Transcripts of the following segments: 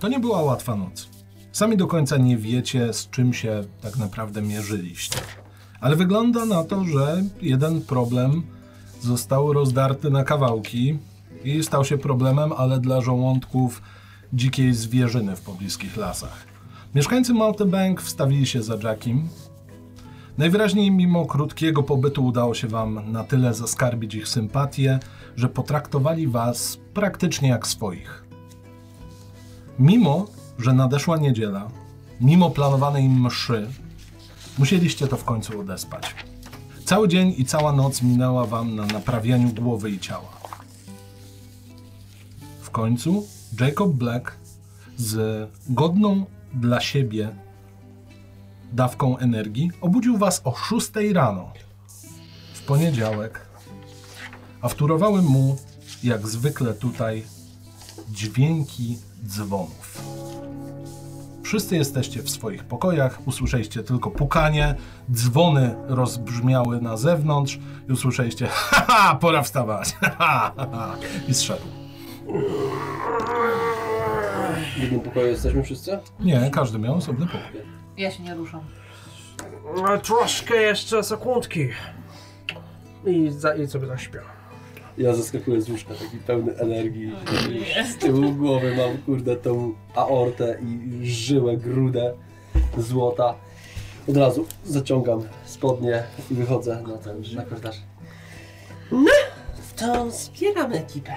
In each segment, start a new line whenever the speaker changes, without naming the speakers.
To nie była łatwa noc. Sami do końca nie wiecie, z czym się tak naprawdę mierzyliście. Ale wygląda na to, że jeden problem został rozdarty na kawałki i stał się problemem, ale dla żołądków dzikiej zwierzyny w pobliskich lasach. Mieszkańcy Maltebank wstawili się za Jackiem. Najwyraźniej mimo krótkiego pobytu udało się wam na tyle zaskarbić ich sympatię, że potraktowali was praktycznie jak swoich. Mimo, że nadeszła niedziela, mimo planowanej mszy, musieliście to w końcu odespać. Cały dzień i cała noc minęła wam na naprawianiu głowy i ciała. W końcu Jacob Black z godną dla siebie dawką energii obudził was o 6 rano w poniedziałek, a wtórowały mu, jak zwykle tutaj, dźwięki dzwonów. Wszyscy jesteście w swoich pokojach, usłyszeliście tylko pukanie, dzwony rozbrzmiały na zewnątrz i usłyszeliście ha, ha pora wstawać, ha, ha, ha, ha. i zszedł.
W jednym pokoju jesteśmy wszyscy?
Nie, każdy miał osobny pokój.
Ja się nie ruszam.
A E, troszkę jeszcze sekundki. I, za, i sobie zaśpię.
Ja zaskakuję z łóżka, taki pełny energii. Z tyłu głowy mam, kurde, tą aortę i żyłę, grudę złota. Od razu zaciągam spodnie i wychodzę na ten, na korytarz. No, to zbieramy ekipę.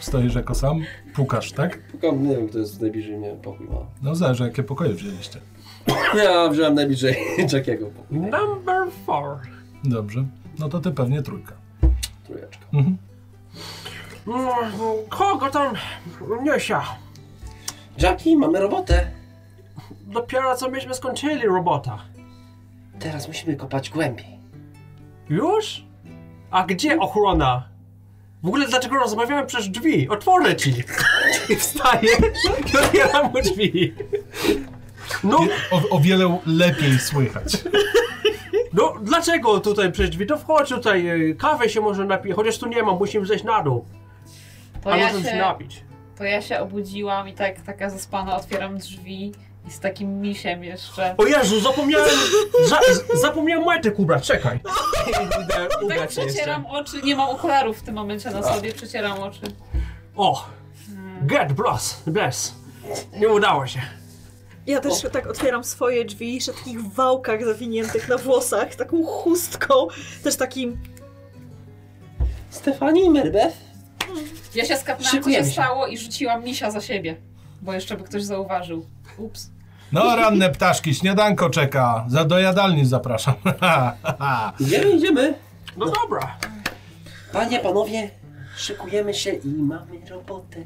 Stoisz jako sam, pukasz, tak?
Pukam, nie wiem, kto jest najbliżej mnie pokój ma.
No zależy, jakie pokoje wzięliście.
Ja wziąłem najbliżej Jackiego pokój.
Number four.
Dobrze, no to ty pewnie trójka.
Trójeczka.
Mhm.
Mm, Kogo tam niesia?
Jacki, mamy robotę.
Dopiero co myśmy skończyli robota.
Teraz musimy kopać głębiej.
Już? A gdzie ochrona? W ogóle dlaczego rozmawiałem przez drzwi? Otworzę ci! I wstaję i otwieram mu drzwi. No,
O, o wiele lepiej słychać.
no, dlaczego tutaj przez drzwi? To wchodź tutaj, e, kawę się może napije, chociaż tu nie mam, musimy zejść na dół.
To
A
ja,
możemy się
się,
napić.
to ja się obudziłam i tak taka zaspana otwieram drzwi i z takim misiem jeszcze.
O Jezu, zapomniałem, za, z- zapomniałem majtek ubrać, czekaj. Idę
I tak
ubrać się
przecieram
jeszcze.
oczy, nie mam okularów w tym momencie na sobie, przecieram oczy.
O, get bless, bless. Nie udało się.
Ja też tak otwieram swoje drzwi, jeszcze w takich wałkach zawiniętych na włosach, z taką chustką, też takim...
Stefani i Merbeth?
Ja się skapnęłam, co się
Szykujemy się.
stało i rzuciłam misia za siebie, bo jeszcze by ktoś zauważył. Ups.
No ranne ptaszki, śniadanko czeka. Za do jadalni zapraszam.
Idziemy, idziemy.
No dobra,
Panie, panowie, szykujemy się i mamy robotę.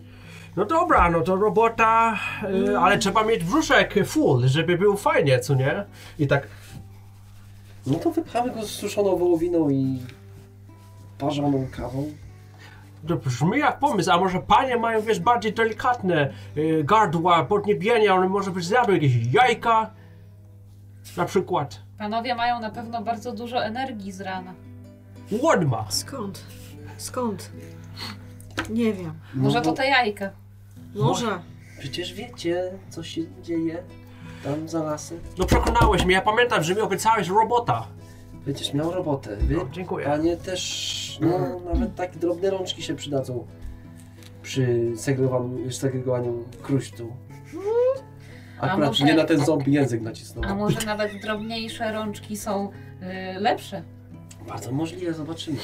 no dobra, no to robota, y, ale trzeba mieć brzuszek full, żeby był fajnie, co nie? I tak,
No to wypchamy go z suszoną wołowiną i parzoną kawą.
to brzmi jak pomysł, a może panie mają, wiesz, bardziej delikatne y, gardła, podniebienia, one może by zjadły jakieś jajka, na przykład.
Panowie mają na pewno bardzo dużo energii z rana.
Łodma.
Skąd? Skąd? Nie wiem.
Może
No,
to te jajka.
Może.
Przecież wiecie, co się dzieje tam za lasem.
No przekonałeś mnie, ja pamiętam, że mi obiecałeś robota.
Będziesz miał robotę. Wy,
No, dziękuję.
panie, też no, nawet takie drobne rączki się przydadzą przy segregowaniu, segregowaniu kruśtu. Akurat
może-
nie na ten zombie język nacisnął.
A może nawet drobniejsze rączki są y, lepsze.
Bardzo możliwe, zobaczymy.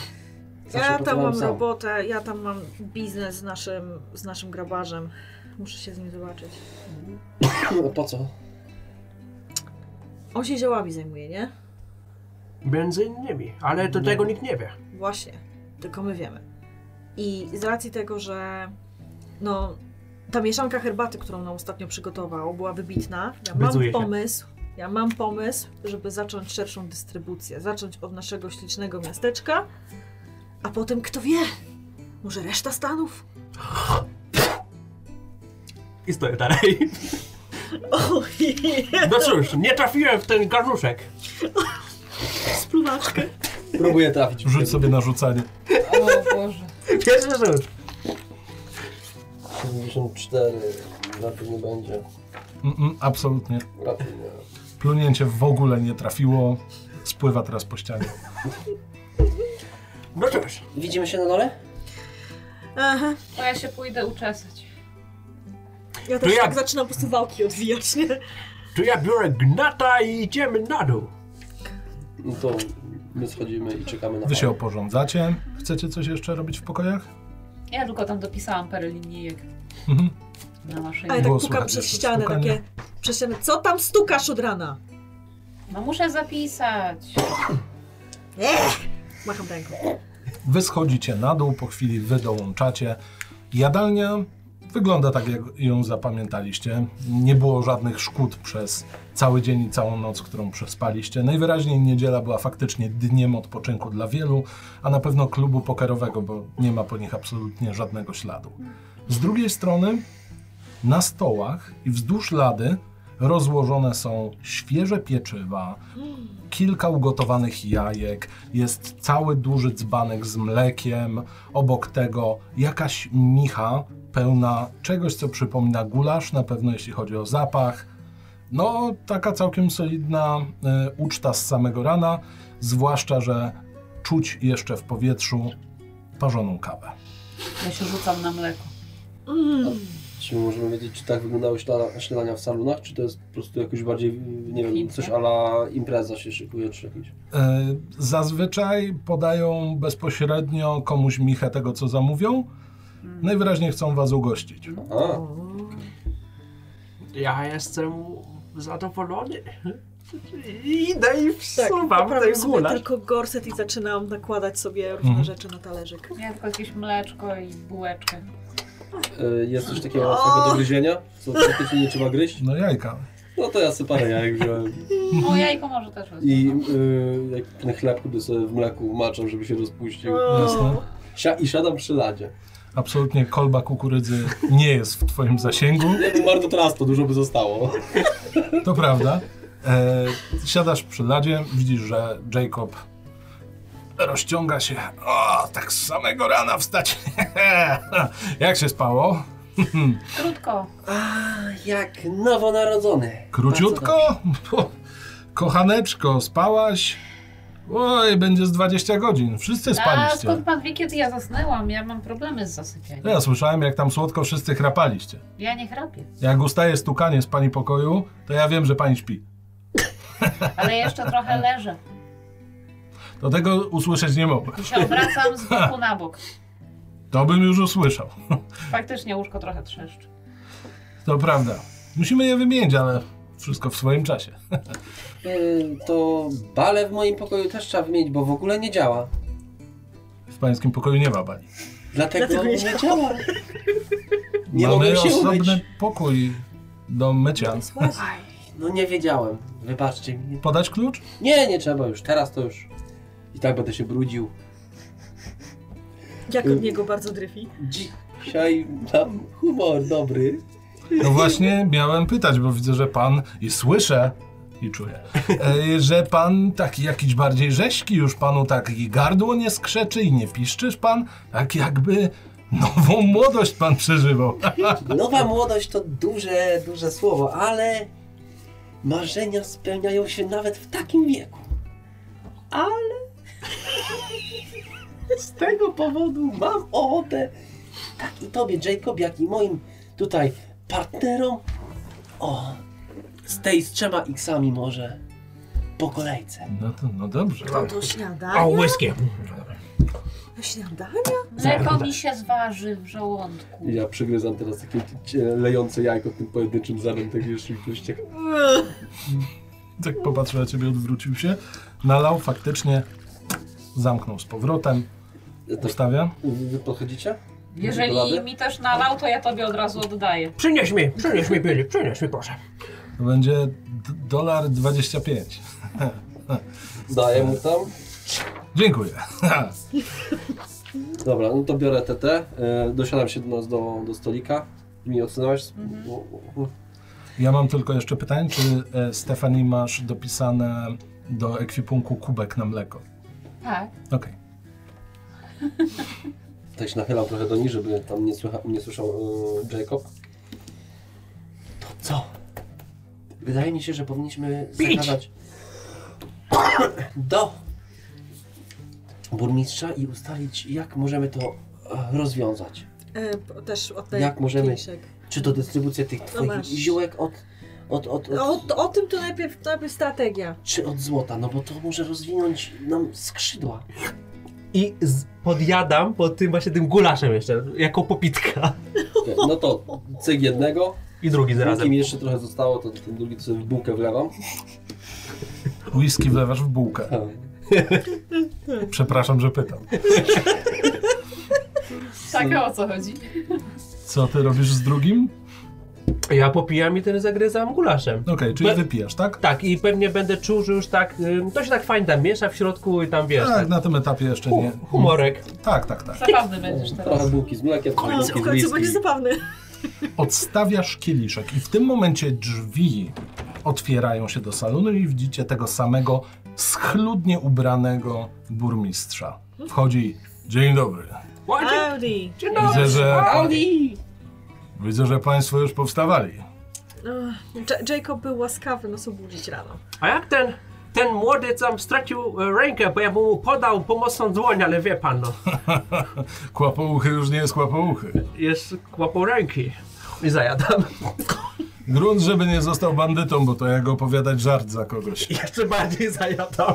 Zawsze
Ja tam
pracowałem
mam
sam.
robotę, ja tam mam biznes z naszym, z naszym grabarzem. Muszę się z nim zobaczyć.
No, po co?
On się ziołami zajmuje, nie?
Między innymi, ale do tego nikt nie wie.
Właśnie, tylko my wiemy. I z racji tego, że no, ta mieszanka herbaty, którą nam ostatnio przygotował, była wybitna, ja mam
Wycuje się.
pomysł, ja mam pomysł, żeby zacząć szerszą dystrybucję, zacząć od naszego ślicznego miasteczka, a potem kto wie, może reszta Stanów?
I stoję dalej.
Oj,
No cóż, nie trafiłem w ten garnuszek.
spluwaczkę.
Próbuję trafić.
Rzuć sobie na rzucanie.
O Boże.
Pierwszy rzut.
74. Raczej nie będzie.
Mm-mm, Mm, absolutnie.
Raczej nie.
Plunięcie w ogóle nie trafiło. Spływa teraz po ścianie.
No cóż,
Widzimy się na dole?
Aha.
To ja się pójdę uczesać.
Ja też
ja-
tak zaczynam po prostu wałki odwijać, nie?
to ja biorę gnata i idziemy na dół.
No to my schodzimy i czekamy na
Wy się
pana.
oporządzacie. Chcecie coś jeszcze robić w pokojach?
Ja tylko tam dopisałam parę linijek
Mhm.
na
A
maszynie.
ja tak
Było
pukam
słychać
przez
jeszcze
ścianę,
stukanie.
takie... Przez ścianę, co tam stukasz od rana?
No muszę zapisać.
Ech! Macham ręką.
Wy schodzicie na dół, po chwili wy dołączacie. Jadalnia wygląda tak, jak ją zapamiętaliście. Nie było żadnych szkód przez cały dzień i całą noc, którą przespaliście. Najwyraźniej niedziela była faktycznie dniem odpoczynku dla wielu, a na pewno klubu pokerowego, bo nie ma po nich absolutnie żadnego śladu. Z drugiej strony, na stołach i wzdłuż lady rozłożone są świeże pieczywa, kilka ugotowanych jajek, jest cały duży dzbanek z mlekiem, obok tego jakaś micha pełna czegoś, co przypomina gulasz, na pewno jeśli chodzi o zapach. No, taka całkiem solidna e, uczta z samego rana, zwłaszcza, że czuć jeszcze w powietrzu parzoną kawę.
Ja się rzucam na mleko.
Czy my możemy wiedzieć, czy tak wyglądały śla- śniadania w salonach, czy to jest po prostu jakoś bardziej, nie wiem,
Chińskie?
coś ala impreza się szykuje, czy jakieś?
E, Zazwyczaj podają bezpośrednio komuś michę tego, co zamówią. Najwyraźniej chcą was ugościć.
A,
Ja jestem zadowolony. Idę i wsuwam
Tak, poprawiam
ten
sobie
gulasz.
tylko gorset i zaczynam nakładać sobie różne
Mhm.
rzeczy na talerzyk.
Ja tylko jakieś mleczko i bułeczkę.
y, jest coś takiego łatwego do gryzienia, co praktycznie nie trzeba gryźć?
No jajka.
No to ja sobie parę jajek wziąłem
O, jajko może też wezmę.
i y, jak ten chleb, który sobie w mleku maczam, żeby się rozpuścił.
Jasne.
Sia- I siadam przy ladzie.
Absolutnie kolba kukurydzy nie jest w twoim zasięgu.
Nie wiem, bardzo teraz to dużo by zostało.
To prawda. E, siadasz przy ladzie, widzisz, że Jacob rozciąga się. O, tak z samego rana wstać. Jak się spało?
Krótko.
Jak nowonarodzony.
Króciutko? Puh, Kochaneczko, spałaś? Oj, będzie z 20 godzin. Wszyscy
A
spaliście.
skąd pan wie, kiedy ja zasnęłam? Ja mam problemy z zasypianiem.
No.
Ja słyszałem, jak tam słodko wszyscy chrapaliście.
Ja nie chrapię.
Jak ustaje stukanie z pani pokoju, to ja wiem, że pani śpi.
Ale jeszcze trochę leżę.
To tego usłyszeć nie mogę.
I się obracam z boku na bok.
To bym już usłyszał.
Faktycznie łóżko trochę trzeszczy.
To prawda. Musimy je wymienić, ale wszystko w swoim czasie.
Y, to bale w moim pokoju też trzeba wymienić, bo w ogóle nie działa.
W pańskim pokoju nie ma bali.
Dlatego,
Dlatego nie
nie działa. Nie
Mamy
mogę się
osobny
umyć.
pokój do mycia.
No nie wiedziałem. Wybaczcie mi.
Podać klucz?
Nie, nie trzeba już. Teraz to już. I tak będę się brudził.
Jak
Y-
od niego bardzo dryfi.
Dzisiaj mam humor dobry.
No właśnie miałem pytać, bo widzę, że pan i słyszę i czuję, e, że pan taki jakiś bardziej rześki już panu tak i gardło nie skrzeczy i nie piszczysz pan, tak jakby nową młodość pan przeżywał.
Nowa młodość to duże, duże słowo, ale marzenia spełniają się nawet w takim wieku. Ale z tego powodu mam ochotę, tak i tobie, Jacob, jak i moim tutaj partnerom, o, z tej z trzema x-ami może po kolejce.
No to no dobrze.
tak.
To do śniadania?
whisky.
Do śniadania?
Mleko mi się zważy w żołądku.
Ja przygryzam teraz takie lejące jajko tym pojedynczym zerem, tak jeszcze i
Tak popatrzył na ciebie, odwrócił się, nalał faktycznie, zamknął z powrotem, ustawia.
Wy podchodzicie?
Jeżeli mi też nalał, to ja tobie od razu oddaję.
Przynieś mi, przynieś mi Billy, przynieś mi proszę.
To będzie d- dolar 25.
Daję mu tam.
Dziękuję.
Dobra, no to biorę TT, e, dosiadam się do, do, do stolika. Mi odsunęłaś? O, o, o.
Ja mam tylko jeszcze pytanie, czy e, Stefani masz dopisane do ekwipunku kubek na mleko?
Tak.
Okej.
Tak się nachylam trochę do niej, żeby tam nie, słycha, nie słyszał e, Jacob. Wydaje mi się, że powinniśmy
Pić!
zakazać do burmistrza i ustalić, jak możemy to e, rozwiązać.
E, p- też oddaję
Jak możemy-
kieliszek.
Czy to dystrybucja tych twoich
masz.
ziółek od, od, od, od,
O, o tym to najpierw, najpierw strategia.
czy od złota, no bo to może rozwinąć nam skrzydła.
I z, podjadam pod tym właśnie tym gulaszem jeszcze, jako popitka.
No to cyk jednego,
I drugi zarazem.
kim jeszcze trochę zostało, to ten drugi to sobie w bułkę wlewam.
Whisky wlewasz w bułkę. Przepraszam, że pytam.
Tak, a o co chodzi?
Co ty robisz z drugim?
Ja popijam i ten zagryzam gulaszem.
Okej, czyli
Be-
wypijesz, tak?
Tak, i pewnie będę czuł, że już tak, ym, to się tak fajnie tam miesza w środku i tam wiesz,
Tak,
tak,
na tym etapie jeszcze nie.
hu- humorek.
Tak, tak, tak.
Zabawny będziesz
Trochę
teraz.
bułki z mlekiem, trochę
No,
bułki z
w końcu
whisky.
będzie zabawny.
Odstawiasz kieliszek i w tym momencie drzwi otwierają się do salonu i widzicie tego samego schludnie ubranego burmistrza. Wchodzi. Dzień dobry.
Ładzie-
Audi.
Dzień
Widzę,
dobry.
że, widzę, że państwo już powstawali.
Ach, Ja- No, Jacob był łaskawy nas obudzić rano.
A jak ten, ten młody tam stracił e, rękę, bo ja bym mu podał pomocną dłoń, ale wie pan no,
Kłapouchy już nie jest kłapouchy.
jest kłapą ręki. I zajadam.
Grunt, żeby nie został bandytą, bo to jak opowiadać żart za kogoś.
Jeszcze bardziej zajadam.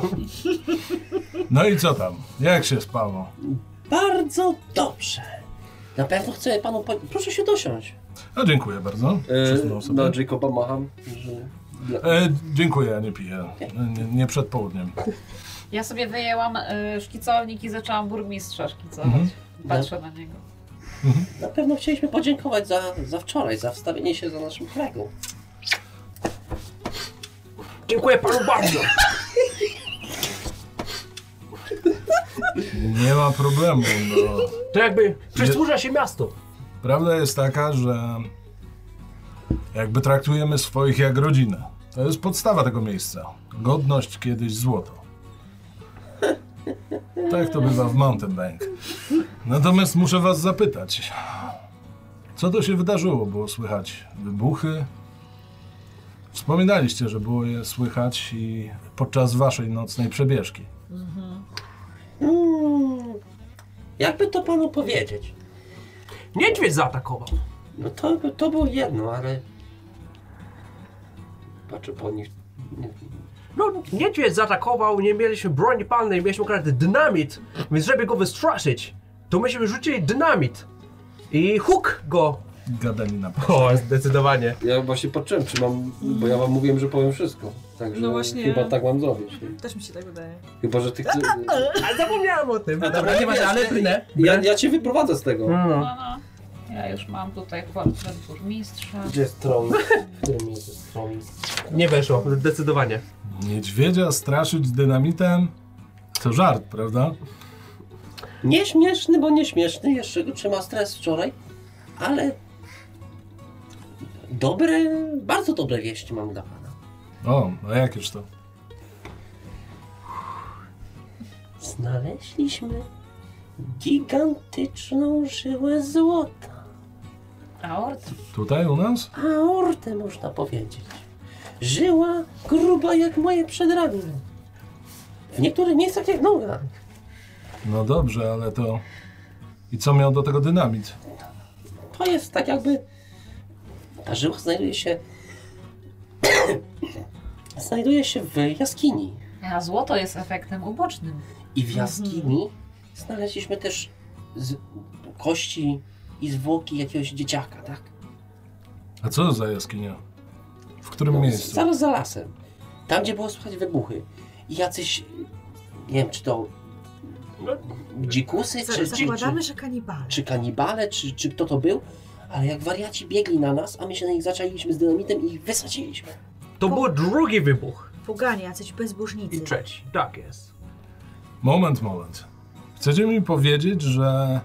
No i co tam? Jak się spało?
Bardzo dobrze. Na pewno chcę panu... Po... Proszę się dosiąść.
A No, dziękuję bardzo.
E,
Przesunął sobie.
do Jacoba macham, że... dla-
E, dziękuję, ja nie piję. Nie, nie przed południem.
Ja sobie wyjęłam y, szkicownik i zaczęłam burmistrza szkicować.
Mhm.
Patrzę na niego.
Na pewno chcieliśmy podziękować za, za wczoraj, za wstawienie się za naszym kraju.
Dziękuję panu bardzo.
Nie ma problemu. No.
To jakby przysłuża się miastu.
Prawda jest taka, że jakby traktujemy swoich jak rodzinę. To jest podstawa tego miejsca. Godność kiedyś złoto. Tak to bywa w Mountain Bank. Natomiast muszę was zapytać. Co to się wydarzyło? Było słychać wybuchy? Wspominaliście, że było je słychać i podczas waszej nocnej przebieżki.
Mm, jakby to panu powiedzieć?
Niedźwiedź zaatakował.
No to, to było jedno, ale... Patrzę po nich. Nie,
No, niedźwiedź zaatakował, nie mieliśmy broni palnej, mieliśmy akurat dynamit, więc żeby go wystraszyć, to myśmy rzucili dynamit. I huk go.
Gadanina.
O, zdecydowanie.
Ja właśnie patrzyłem, czy mam, bo ja wam mówiłem, że powiem wszystko. Także
No właśnie.
chyba tak mam zrobić.
Też mi się tak wydaje.
Chyba, że ty chcesz...
A zapomniałem o tym.
No dobra,
Dobra, nieważne,
wiesz,
ale
ja-
brnę.
Ja, ja cię wyprowadzę z tego.
No.
No, no. Ja już mam tutaj portret burmistrza.
Gdzie jest tron? W którym miejscu jest tron?
Nie weszło, zdecydowanie.
Niedźwiedzia straszyć dynamitem? To żart, prawda?
Nieśmieszny, bo nieśmieszny, jeszcze go trzyma stres wczoraj, ale dobre, bardzo dobre wieści mam dla pana.
O, a jakież to?
Znaleźliśmy gigantyczną żyłę złota,
Aort?
Tutaj u nas?
aortę można powiedzieć. Żyła gruba jak moje przedramię. W niektórych miejscach jak noga.
No dobrze, ale to. I co miał do tego dynamit?
To jest tak jakby. Ta żyła znajduje się. znajduje się w jaskini.
A złoto jest efektem ubocznym.
I w jaskini znaleźliśmy też z... kości i zwłoki jakiegoś dzieciaka, tak?
A co za jaskinia? W którym
No,
miejscu?
Zaraz za lasem. Tam, gdzie było słychać wybuchy. I jacyś. Nie wiem, czy to.
No,
Dzikusy,
Za,
czy, czy, czy,
zakładamy, że kanibale.
czy kanibale, czy, czy kto to był. Ale jak wariaci biegli na nas, a my się na nich zaczęliśmy z dynamitem i ich wysadziliśmy.
To był drugi wybuch.
Poganie, jacyś bezbożnicy.
I trzeci. Tak jest.
Moment, moment. Chcecie mi powiedzieć, że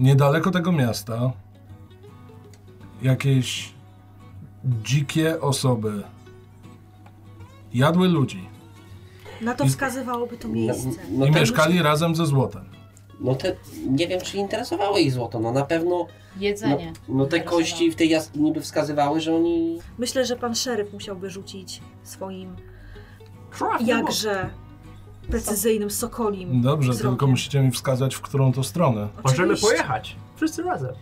niedaleko tego miasta jakieś dzikie osoby jadły ludzi
Na to wskazywałoby to miejsce.
tak
i mieszkali razem ze złotem.
No te, nie wiem czy interesowało ich złoto, no na pewno no,
Jedzenie.
no te kości w tej jaskini niby wskazywały, że oni...
Myślę, że pan szeryf musiałby rzucić swoim
Traf,
jakże precyzyjnym sokolim.
Dobrze,
wzrokiem.
tylko musicie mi wskazać, w którą to stronę.
Oczywiście.
Możemy pojechać. Wszyscy razem.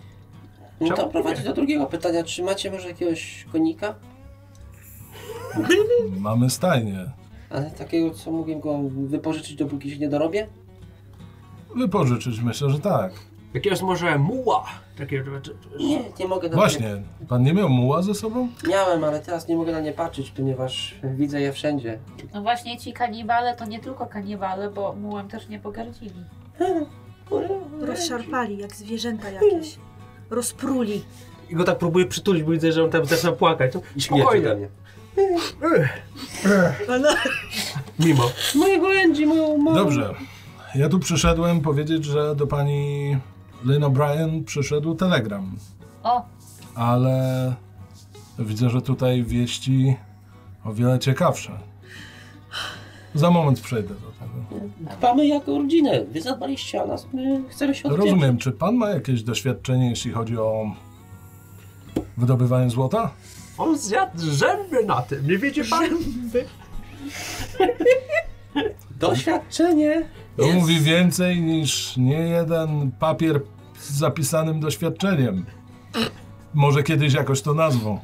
No to
Czemu
prowadzi
nie?
do drugiego pytania, czy macie może jakiegoś konika?
Mamy stajnię.
Ale takiego, co mogę go wypożyczyć, dopóki się nie dorobię?
Wypożyczyć myślę, że tak.
Jakiegoś może muła. Takiego, czy- czy-
Nie, nie mogę na Nie.
Właśnie, pan nie miał muła ze sobą?
Miałem, ale teraz nie mogę na nie patrzeć, ponieważ widzę je wszędzie.
No właśnie ci kanibale to nie tylko kanibale, bo mułem też nie pogardzili.
Rozszarpali jak zwierzęta jakieś. Rozpruli.
I go tak próbuję przytulić, bo widzę, że on tam zaczyna płakać.
I śmiecie
Spokojnie.
do mnie.
Ech,
No,
Mimo.
Mojego Angie, moją mamę.
Dobrze. Ja tu przyszedłem powiedzieć, że do pani Lynn O'Brien przyszedł telegram,
O,
ale widzę, że tutaj wieści o wiele ciekawsze. Za moment przejdę do tego.
Dbamy jako rodzinę. Wy zadbaliście o nas, my chcemy się odwiedzić.
No Rozumiem, czy pan ma jakieś doświadczenie, jeśli chodzi o wydobywanie złota?
On zjadł zęby na tym, nie wiecie pan?
Doświadczenie.
To mówi więcej niż nie jeden papier z zapisanym doświadczeniem. Może kiedyś jakoś to nazwą.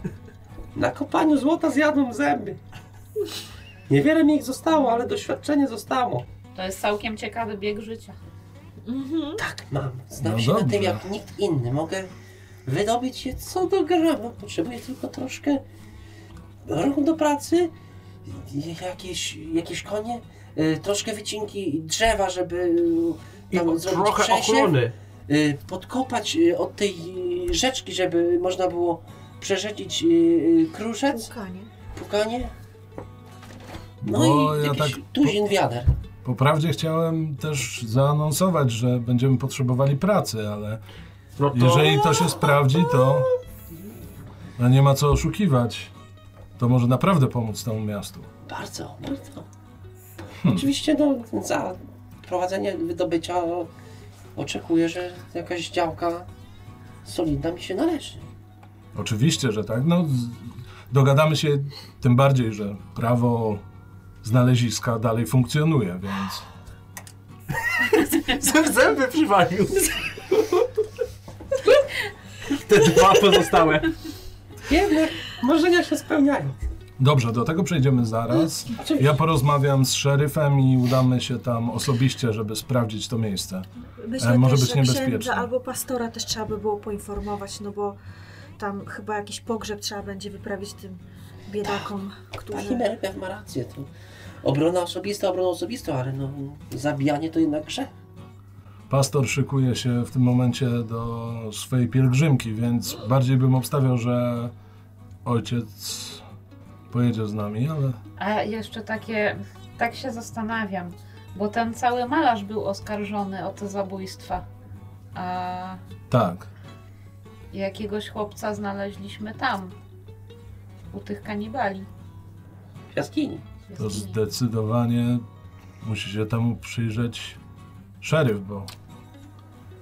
Na kopaniu złota zjadłem zęby. Niewiele mi ich zostało, ale doświadczenie zostało.
to jest całkiem ciekawy bieg życia.
mhm.
Tak, mam. Znam
No
się na
dobrze.
tym jak nikt inny. Mogę wydobyć je co do grama. Potrzebuję tylko troszkę rąk do pracy, i- jakieś, jakieś konie, y, troszkę wycinki drzewa, żeby y,
I
tam
o-
zrobić
trochę
przesiew.
ochrony.
y, podkopać y, od tej y, rzeczki, żeby można było przerzedzić y, y, kruszec,
Łkanie.
pukanie. No
Bo
i
ja tak
jakiś tuzin wiader.
Po prawdzie chciałem też zaanonsować, że będziemy potrzebowali pracy, ale
No to...
jeżeli to się sprawdzi, to no nie ma co oszukiwać. To może naprawdę pomóc temu miastu.
Bardzo, bardzo.
Hmm.
Oczywiście no, za prowadzenie wydobycia o, oczekuję, że jakaś działka solidna mi się należy.
Oczywiście, że tak. No, z- dogadamy się tym bardziej, że prawo znaleziska dalej funkcjonuje, więc
Zęb- Zęby przywalił. Te dwa pozostałe.
Jednak marzenia się spełniają.
dobrze, do tego przejdziemy zaraz.
Oczywiście.
Ja porozmawiam z szeryfem i udamy się tam osobiście, żeby sprawdzić to miejsce.
Myślę
E, może
też,
być
że
niebezpieczne.
księdza albo pastora też trzeba by było poinformować, no bo tam chyba jakiś pogrzeb trzeba będzie wyprawić tym biedakom,
Pani
którzy...
Merbew ma rację. To obrona osobista, obrona osobista, ale no, zabijanie to jednak grzech.
Pastor szykuje się w tym momencie do swojej pielgrzymki, więc bardziej bym obstawiał, że ojciec pojedzie z nami, ale
A jeszcze takie, tak się zastanawiam, bo ten cały malarz był oskarżony o te zabójstwa. A
tak.
jakiegoś chłopca znaleźliśmy tam, u tych kanibali.
W jaskini.
To
Jest inny.
zdecydowanie musi się temu przyjrzeć szeryf, bo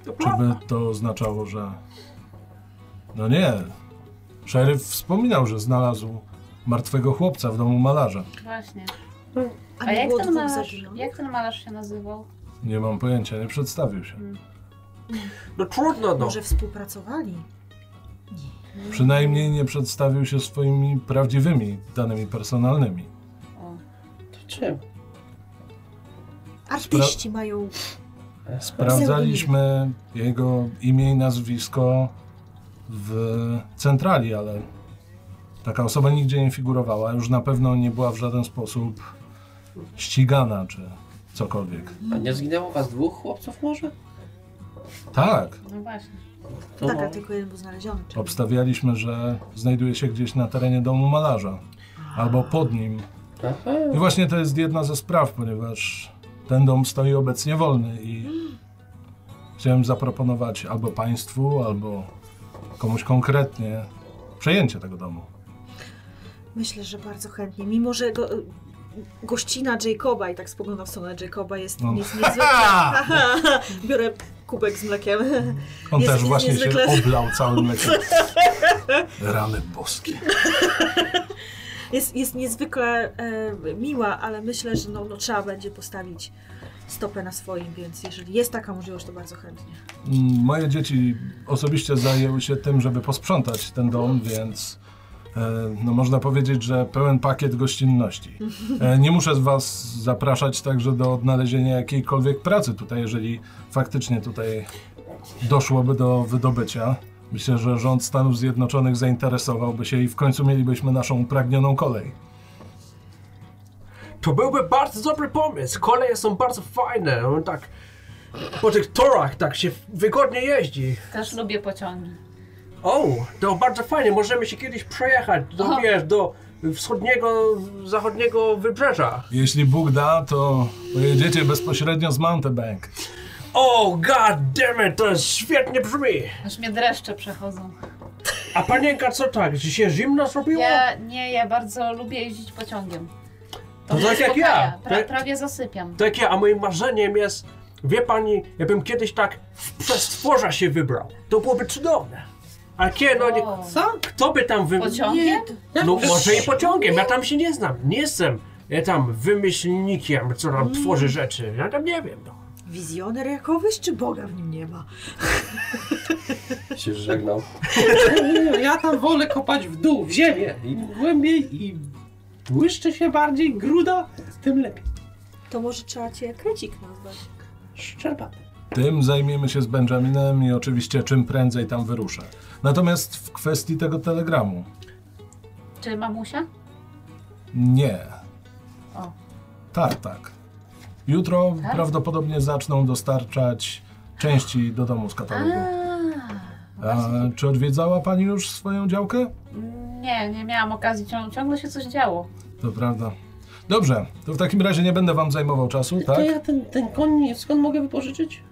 To
czy
prawda.
by to oznaczało, że... No nie. Szeryf wspominał, że znalazł martwego chłopca w domu malarza.
Właśnie. A,
A, nie
jak,
było
ten
dwóch
malarz,
zabinionych?
jak ten malarz się nazywał?
Nie mam pojęcia, nie przedstawił się.
No trudno no.
Może współpracowali?
Przynajmniej nie przedstawił się swoimi prawdziwymi danymi personalnymi.
O,
To czym?
Artyści mają...
Sprawdzaliśmy jego imię i nazwisko w centrali, ale taka osoba nigdzie nie figurowała. Już na pewno nie była w żaden sposób ścigana czy cokolwiek.
A nie zginęło was dwóch chłopców może?
Tak,
no właśnie.
To
Tak, a
no,
tylko jeden był znaleziony. czyli-
obstawialiśmy, że znajduje się gdzieś na terenie domu malarza albo pod nim.
Aha.
I właśnie to jest jedna ze spraw, ponieważ ten dom stoi obecnie wolny i chciałem zaproponować albo państwu, albo komuś konkretnie przejęcie tego domu.
Myślę, że bardzo chętnie, mimo że go, gościna Jacoba i tak spoglądam w stronę Jacoba, jest,
No.
jest niezwykle... Biorę kubek z mlekiem.
On
Jest-
też
jest
właśnie
niezwykle-
się oblał całym mlekiem. Rany boskie.
Jest, jest niezwykle e, miła, ale myślę, że no, no, trzeba będzie postawić stopę na swoim, więc jeżeli jest taka możliwość, to bardzo chętnie.
Mm, Moje dzieci osobiście zajęły się tym, żeby posprzątać ten dom, więc e, no można powiedzieć, że pełen pakiet gościnności. E, Nie muszę z was zapraszać także do odnalezienia jakiejkolwiek pracy tutaj, jeżeli faktycznie tutaj doszłoby do wydobycia. Myślę, że rząd Stanów Zjednoczonych zainteresowałby się i w końcu mielibyśmy naszą pragnioną kolej.
To byłby bardzo dobry pomysł. Koleje są bardzo fajne. On tak po tych torach tak się wygodnie jeździ.
Też lubię pociągi.
O, to bardzo fajnie. Możemy się kiedyś przejechać do,
Aha.
wiesz, do wschodniego, zachodniego wybrzeża.
Jeśli Bóg da, to pojedziecie bezpośrednio z Mountebank.
O, god damn it, to jest świetnie brzmi.
Aż mnie dreszcze przechodzą.
A panienka co tak, że się zimno zrobiło?
Ja nie, ja bardzo lubię jeździć pociągiem.
To
mnie
tak jak ja.
uspokaja. Pra,
Tak-
prawie zasypiam.
Takie, a moim marzeniem jest, wie pani, ja bym kiedyś tak w przestworza się wybrał. To byłoby cudowne. A kiedy, no nie,
O.
co? Kto by tam wybrał?
Pociągiem?
No może i pociągiem, ja tam się nie znam, nie jestem ja tam wymyślnikiem, co tam
Mm.
tworzy rzeczy, ja tam nie wiem. No.
Wizjoner jakowyś, czy Boga w nim nie ma?
Się żegnał.
Ja tam wolę kopać w dół, w ziemię. Im głębiej i błyszczy się bardziej gruda, tym lepiej.
To może trzeba cię krecik nazwać.
Szczerbaty.
Tym zajmiemy się z Benjaminem i oczywiście czym prędzej tam wyruszę. Natomiast w kwestii tego telegramu.
Czy mamusia?
Nie.
O.
Tartak. Jutro
Tartak?
prawdopodobnie zaczną dostarczać części do domu z
A,
katalogu. A, czy odwiedzała pani już swoją działkę?
nie, nie miałam okazji, cią, ciągle się coś działo.
To prawda. Dobrze, to w takim razie nie będę wam zajmował czasu, tak?
To ja ten, ten koń, skąd mogę wypożyczyć?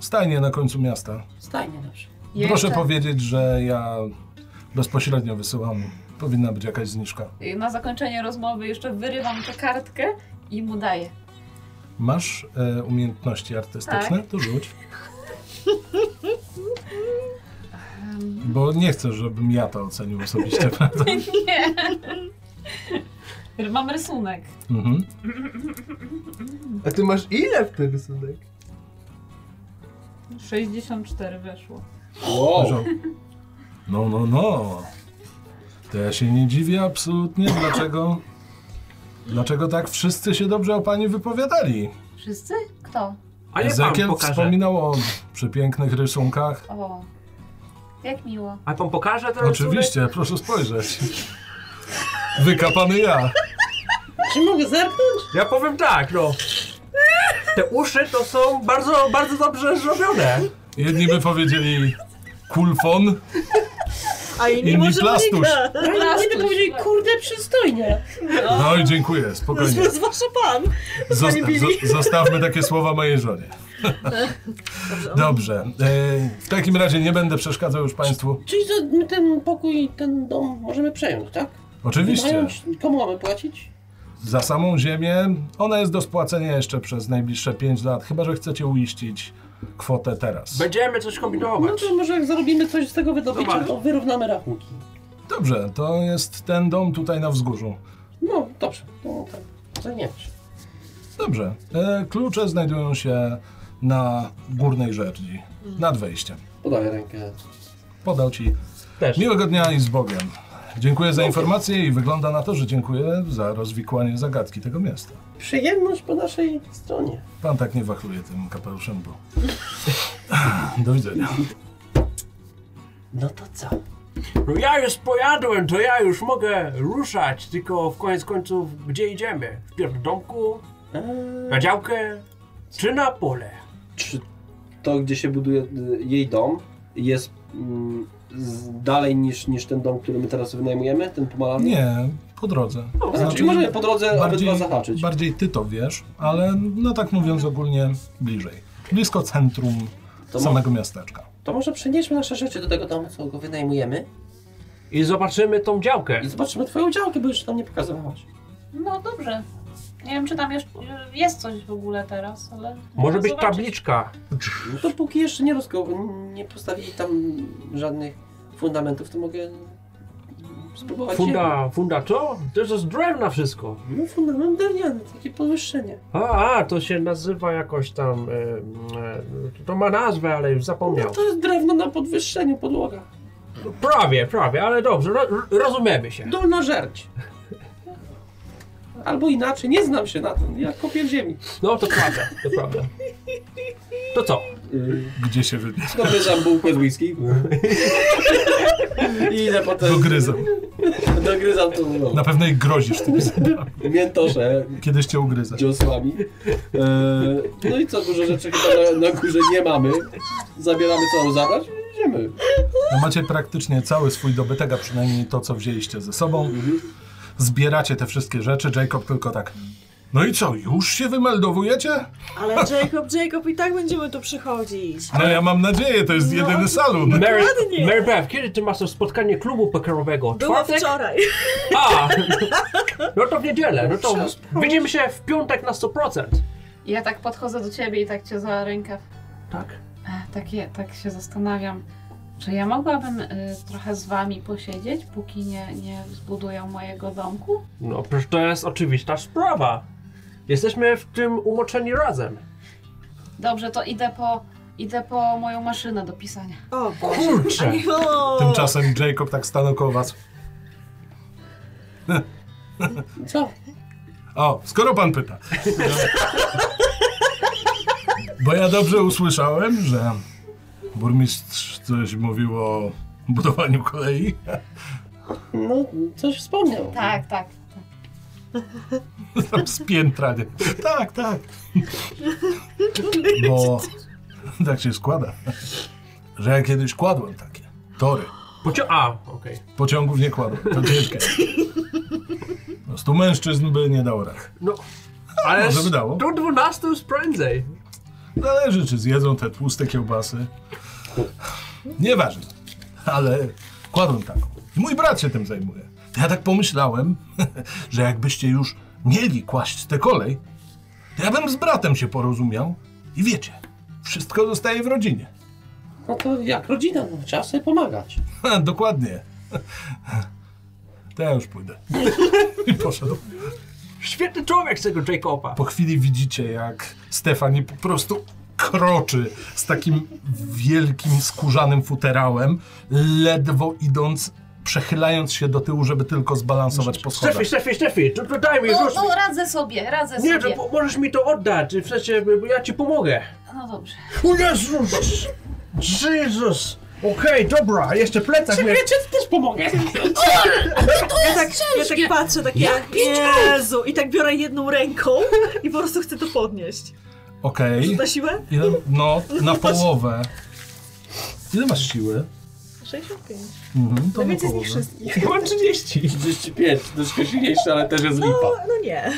Stajnie na końcu miasta.
Stajnie, dobrze.
Proszę
Jeszcze-
powiedzieć, że ja bezpośrednio wysyłam. Powinna być jakaś zniżka.
Na zakończenie rozmowy jeszcze wyrywam tę kartkę i mu daję.
Masz e, umiejętności artystyczne?
Tak.
To rzuć.
Em,
Bo nie chcę, żebym ja to ocenił osobiście, prawda?
nie. Mam rysunek.
Mhm.
A ty masz ile w ten rysunek?
64 weszło.
Wow.
No, no, no. To ja się nie dziwię absolutnie, dlaczego... Dlaczego tak wszyscy się dobrze o pani wypowiadali?
Wszyscy? Kto?
A nie pan
Ezekiel
pokaże.
wspominał o przepięknych rysunkach.
O, jak miło.
A pan pokaże teraz?
Oczywiście, proszę spojrzeć. Wykapany ja.
Czy mogę zerknąć?
Ja powiem tak, no. Te uszy to są bardzo, bardzo dobrze zrobione.
Jedni by powiedzieli kulfon,
A inni
inni
może
plastuś.
unika.
Ale nie
Plastuś.
tylko powiedzieli, kurde, przystojnie.
No i dziękuję, spokojnie.
Zwłaszcza pan.
Zosta-
Pani Billy.
zo- zostawmy takie słowa mojej żonie. Dobrze. E, w takim razie nie będę przeszkadzał już Państwu.
Czyli to my ten pokój, ten dom możemy przejąć, tak?
Oczywiście.
Wynająć, komu mamy płacić?
Za samą ziemię. Ona jest do spłacenia jeszcze przez najbliższe 5 lat, chyba że chcecie uiścić kwotę teraz.
Będziemy coś
No
kombinować.
to może jak zarobimy coś z tego wydobycia,
Zobacz.
to wyrównamy rachunki.
Dobrze, to jest ten dom tutaj na wzgórzu.
No, dobrze, to tak, zajmiemy się.
Dobrze. E, klucze znajdują się na górnej żerdzi, nad wejściem.
Podaję rękę.
Podał Ci
Też.
miłego dnia i z Bogiem. Dziękuję za informację i wygląda na to, że dziękuję za rozwikłanie zagadki tego miasta.
Przyjemność po naszej stronie.
Pan tak nie wachluje tym kapeluszem, bo... Do widzenia.
No to co?
No ja już pojadłem, to ja już mogę ruszać, tylko w koniec końców gdzie idziemy? Wpierw do domku,
Eee,
na działkę, czy na pole?
Czy to, gdzie się buduje y, jej dom, jest mm, z, dalej niż, niż ten dom, który my teraz wynajmujemy, ten pomalany?
Nie, po drodze.
No, znaczy, możemy po drodze obydwa zahaczyć.
bardziej ty to wiesz, ale no tak mówiąc ogólnie bliżej. Blisko centrum
To
samego miasteczka.
to może przenieśmy nasze rzeczy do tego domu, co go wynajmujemy
I zobaczymy tą działkę.
i zobaczymy twoją działkę, bo już tam nie pokazywałaś.
No dobrze. Nie wiem, czy tam jeszcze jest coś w ogóle teraz, ale...
Może być
Zobaczyć.
tabliczka.
No to póki jeszcze nie, rozko- nie postawili tam
Mm,
żadnych fundamentów, to mogę spróbować.
Funda, funda co? To jest z drewna wszystko.
No fundament drewniany, takie podwyższenie.
A, a, to się nazywa jakoś tam... E, e, to ma nazwę, ale już
No
zapomniał.
to jest drewno na podwyższeniu, podłoga.
Prawie, prawie, ale dobrze, ro, ro- rozumiemy się.
Dolna żerć. Albo inaczej, nie znam się na tym, ja kopię w ziemi.
No to prawda, to prawda. To co?
Gdzie się wybiera?
Dogryzam bułkę z whisky. I idę potem...
Dogryzą.
Dogryzam to no,
Na pewno ich grozisz tymi
miętosze
Kiedyś cię ugryzę.
dziosłami. E, no i co, dużo rzeczy chyba na, na górze nie mamy. Zabieramy co mam zabrać i idziemy.
No macie praktycznie cały swój dobytek, a przynajmniej to, co wzięliście ze sobą. Zbieracie te wszystkie rzeczy, Jacob tylko tak. No i co, już się wymeldowujecie?
Ale Jacob, Jacob, i tak będziemy tu przychodzić.
No ja mam nadzieję, to jest jedyny salon.
Mary,
Dokładnie.
Mary Beth, kiedy ty masz to spotkanie klubu pokerowego?
Było wczoraj.
A! No to w niedzielę, no to widzimy się w piątek na 100%.
Ja tak podchodzę do ciebie i tak cię za rękaw.
Tak?
Ech, Tak, je, tak się zastanawiam, czy ja mogłabym y, trochę z wami posiedzieć, póki nie, nie zbudują mojego domku?
No przecież to jest oczywista sprawa. Jesteśmy w tym umoczeni razem.
Dobrze, to idę po, idę po moją maszynę do pisania.
O Boże.
Kurczę!
O,
Tymczasem Jacob tak stanął koło was.
Co?
O, skoro pan pyta. Bo ja dobrze usłyszałem, że burmistrz coś mówił o budowaniu kolei.
No, coś wspomniał.
Tak, tak. tak.
Tam z piętra, nie? Tak, tak. Bo tak się składa, że ja kiedyś kładłem takie tory.
Pocio- A, okej.
Pociągów nie kładłem, to ciężkie. Po prostu mężczyzn by nie dał rady.
No. Ale
Może
z-
by dało.
do 12 już prędzej.
Zależy, czy zjedzą te tłuste kiełbasy. Nieważne, ale kładłem taką. I mój brat się tym zajmuje. Ja tak pomyślałem, że jakbyście już mieli kłaść tę kolej, to ja bym z bratem się porozumiał i wiecie, wszystko zostaje w rodzinie.
No to jak rodzina, no, trzeba sobie pomagać.
Ha, dokładnie. To ja już pójdę. I poszedł.
Świetny człowiek z tego Jacoba.
Po chwili widzicie, jak Stefani po prostu kroczy z takim wielkim skórzanym futerałem, ledwo idąc, przechylając się do tyłu, żeby tylko zbalansować po
Steffi,
schodach.
Steffi, Steffi, to, to daj mi,
No,
rzuć mi.
no radzę sobie, radzę
Nie, to
sobie.
po- możesz mi to oddać, w sensie, bo ja ci pomogę.
No dobrze.
O Jezus! Jezus! Okej, dobra, jeszcze plecak mnie...
Wiecie, to też pomogę.
ja, tak, ja tak patrzę, tak ja, Jezu, i tak biorę jedną ręką i po prostu chcę to podnieść.
Okej.
Na siłę?
Ile- No, na połowę. Ile masz siły?
65.
Mhm, to na
Najwięcej No z nich
połowę.
wszystkich.
Mam 30.
35, troszkę silniejszy, ale też jest lipa.
No nie.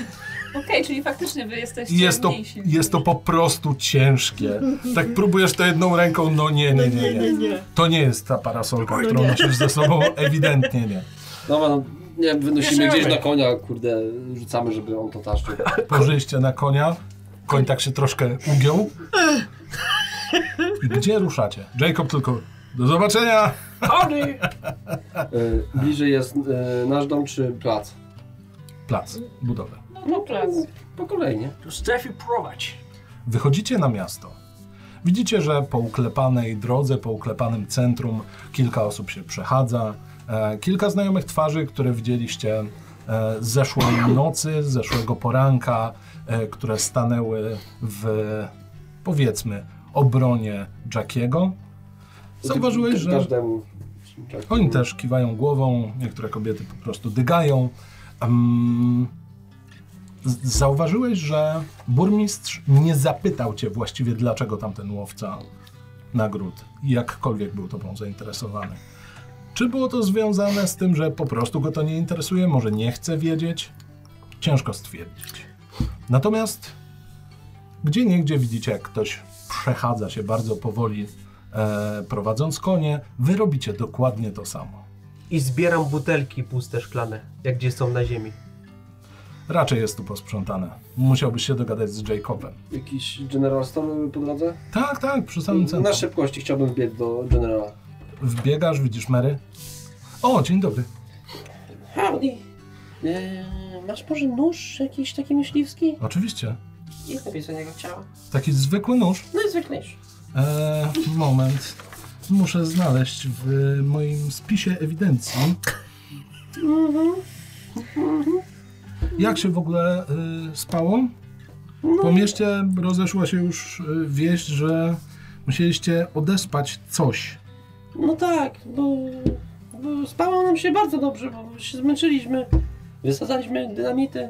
Okej, czyli faktycznie wy jesteście
Jest to,
mniejsi.
jest to po prostu ciężkie. Tak próbujesz to jedną ręką, no nie, nie, nie, nie.
nie.
To nie jest ta parasolka, którą nosisz ze sobą, ewidentnie nie.
Dobra, no, nie wiem, wynosimy
Bierzemy.
gdzieś na konia, kurde, rzucamy, żeby on to taszczył.
Pożyliście na konia. Koń tak się troszkę ugiął. I gdzie ruszacie? Jacob tylko. Do zobaczenia!
Howdy!
E,
Y, bliżej jest y, nasz dom czy plac?
Plac, budowę.
No, no plac.
Po kolejnie.
Tu Steffi prowadź.
Wychodzicie na miasto. Widzicie, że po uklepanej drodze, po uklepanym centrum kilka osób się przechadza. E, kilka znajomych twarzy, które widzieliście e, zeszłej nocy, zeszłego poranka, e, które stanęły w, powiedzmy, obronie Jackiego. Zauważyłeś, że...
Każdemu. tak.
Oni też kiwają głową, niektóre kobiety po prostu dygają. Em, z- zauważyłeś, że burmistrz nie zapytał cię właściwie, dlaczego tamten łowca nagród, jakkolwiek był tobą zainteresowany. Czy było to związane z tym, że po prostu go to nie interesuje, może nie chce wiedzieć? Ciężko stwierdzić. Natomiast gdzie niegdzie widzicie, jak ktoś przechadza się bardzo powoli, e, prowadząc konie, wy robicie dokładnie to samo.
I zbieram butelki puste szklane, jak gdzie są na ziemi.
Raczej jest tu posprzątane. Musiałbyś się dogadać z Jacobem.
Jakiś General Store był po drodze?
Tak, tak, przy samym
Na
centrum.
szybkości chciałbym wbiec do Generala.
Wbiegasz, widzisz Mary. O, dzień dobry.
Howdy. Eee, masz może nóż jakiś taki myśliwski?
Oczywiście.
Ile byś za niego chciała?
Taki zwykły nóż.
No i zwykłejszy.
Eee, moment. Muszę znaleźć w moim spisie ewidencji. Jak się w ogóle y, spało? Po mieście rozeszła się już y, wieść, że musieliście odespać coś.
No tak, bo, bo spało nam się bardzo dobrze, bo się zmęczyliśmy. Wysadzaliśmy dynamity.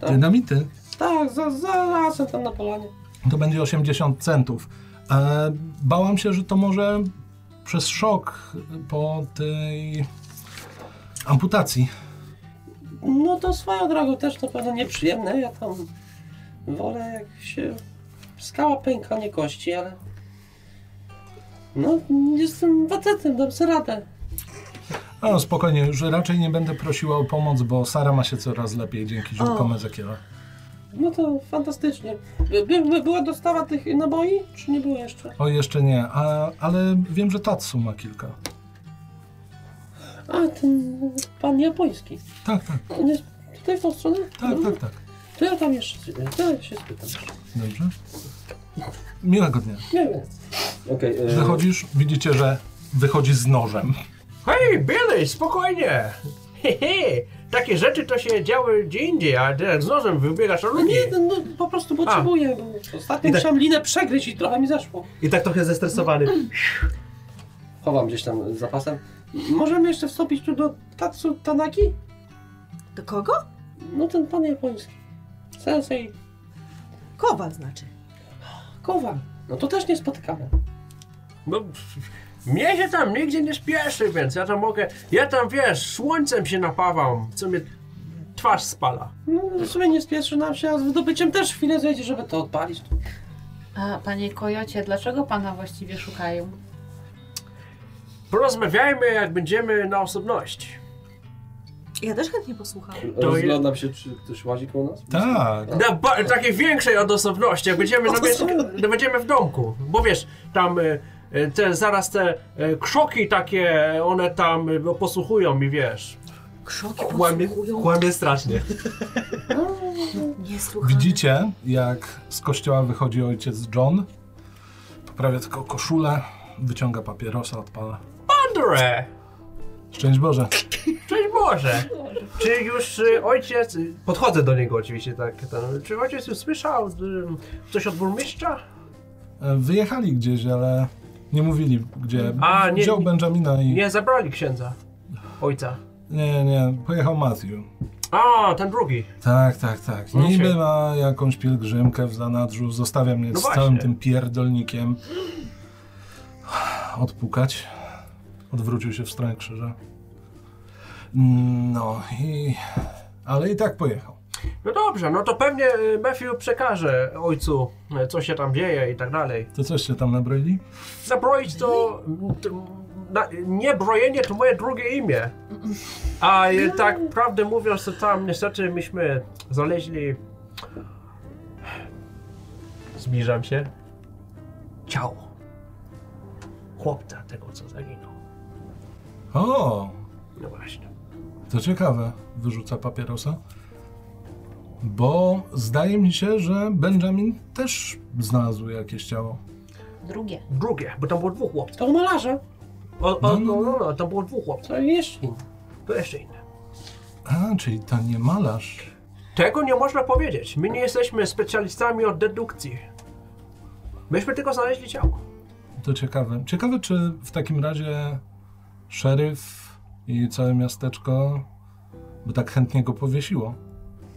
Tak.
Dynamity.
Tak, za, za lasem tam na polanie.
To będzie 80 centów. E, bałam się, że to może przez szok po tej amputacji.
No to swoją drogą też to pewno nieprzyjemne. Ja tam wolę jak się skała pęka, nie kości, ale... No, jestem facetem, dam sobie radę.
No spokojnie, już raczej nie będę prosiła o pomoc, bo Sara ma się coraz lepiej dzięki ziomkom Ezekiela.
No to fantastycznie. By, by, była dostawa tych naboi, czy nie było jeszcze?
O, jeszcze nie, a, ale wiem, że Tatsu ma kilka.
A, ten pan japoński.
Tak, tak,
On jest tutaj w tą stronę?
tak, tak, tak.
To ja tam jeszcze to ja się spytam.
Dobrze. Miłego dnia.
Nie wiem.
Okej,
e,
okay,
Wychodzisz, widzicie, że wychodzi z nożem.
Hej, Billy, spokojnie! He, he. Takie rzeczy to się działy gdzie indziej, a teraz z nożem wybiegasz o
No
ludzi.
nie, no, no po prostu potrzebuję, bo ostatnio
I tak-
musiałem linę przegryźć i trochę mi zeszło.
I tak trochę zestresowany.
chowam gdzieś tam za pasem.
Możemy jeszcze wstąpić tu do Tatsu Tanaki?
Do kogo?
No ten pan japoński. Sensei
Kowal znaczy.
Kowal. No to też nie spotykamy.
No, pff, mnie się tam nigdzie nie spieszy, więc ja tam mogę... Ja tam, wiesz, słońcem się napawam, co mnie twarz spala.
No w sumie nie spieszy nam się, a z wydobyciem też chwilę zejdzie, żeby to odpalić.
A panie Kojocie, dlaczego pana właściwie szukają?
Porozmawiajmy, jak będziemy na osobności.
Ja też chętnie posłucham.
Rozglądam się, czy ktoś łazi koło nas?
Tak.
Na ba- takiej większej odosobności, jak będziemy, na wiesz,
Odosobności.
no będziemy w domku. Bo wiesz, tam e, e, te, zaraz te e, krzoki takie, one tam e, posłuchują i wiesz.
Krzoki podsłuchują.
strasznie.
Nie słucham.
Widzicie, jak z kościoła wychodzi ojciec John. Poprawia tylko koszulę, wyciąga papierosa, odpala.
Andre!
Szczęść Boże.
Cześć Boże! Czy już e, ojciec... Podchodzę do niego oczywiście tak. Tam, czy ojciec już słyszał m, coś od burmistrza?
E, Wyjechali gdzieś, ale nie mówili gdzie.
A, nie-
Wziął Benjamina i...
Nie, zabrali księdza. Ojca.
nie, nie, pojechał Matthew.
A, ten drugi.
Tak, tak, tak.
No
Niby
się-
ma jakąś pielgrzymkę w zanadrzu, zostawia mnie
No
z całym
właśnie.
tym pierdolnikiem. Odpukać. Odwrócił się w stronę krzyża. No i... Ale i tak pojechał.
No dobrze, no to pewnie e, Matthew przekaże ojcu, e, co się tam dzieje i tak dalej.
To coś się tam nabroili?
Zabroić to. to na, nie brojenie to moje drugie imię. A e, tak prawdę mówiąc, to tam niestety myśmy znaleźli. Zbliżam się. Ciało. Chłopca tego, co zaginął.
O,
No właśnie.
to ciekawe. Wyrzuca papierosa. Bo zdaje mi się, że Benjamin też znalazł jakieś ciało.
Drugie.
Drugie, bo tam było dwóch chłopców.
To malarza. Mm.
O, o,
No,
no,
no,
no, no, tam było dwóch chłopców.
To jeszcze.
To jeszcze inne.
A, czyli to nie malarz.
Tego nie można powiedzieć. My nie jesteśmy specjalistami od dedukcji. Myśmy tylko znaleźli ciało.
To ciekawe. Ciekawe, czy w takim razie szeryf i całe miasteczko by tak chętnie go powiesiło.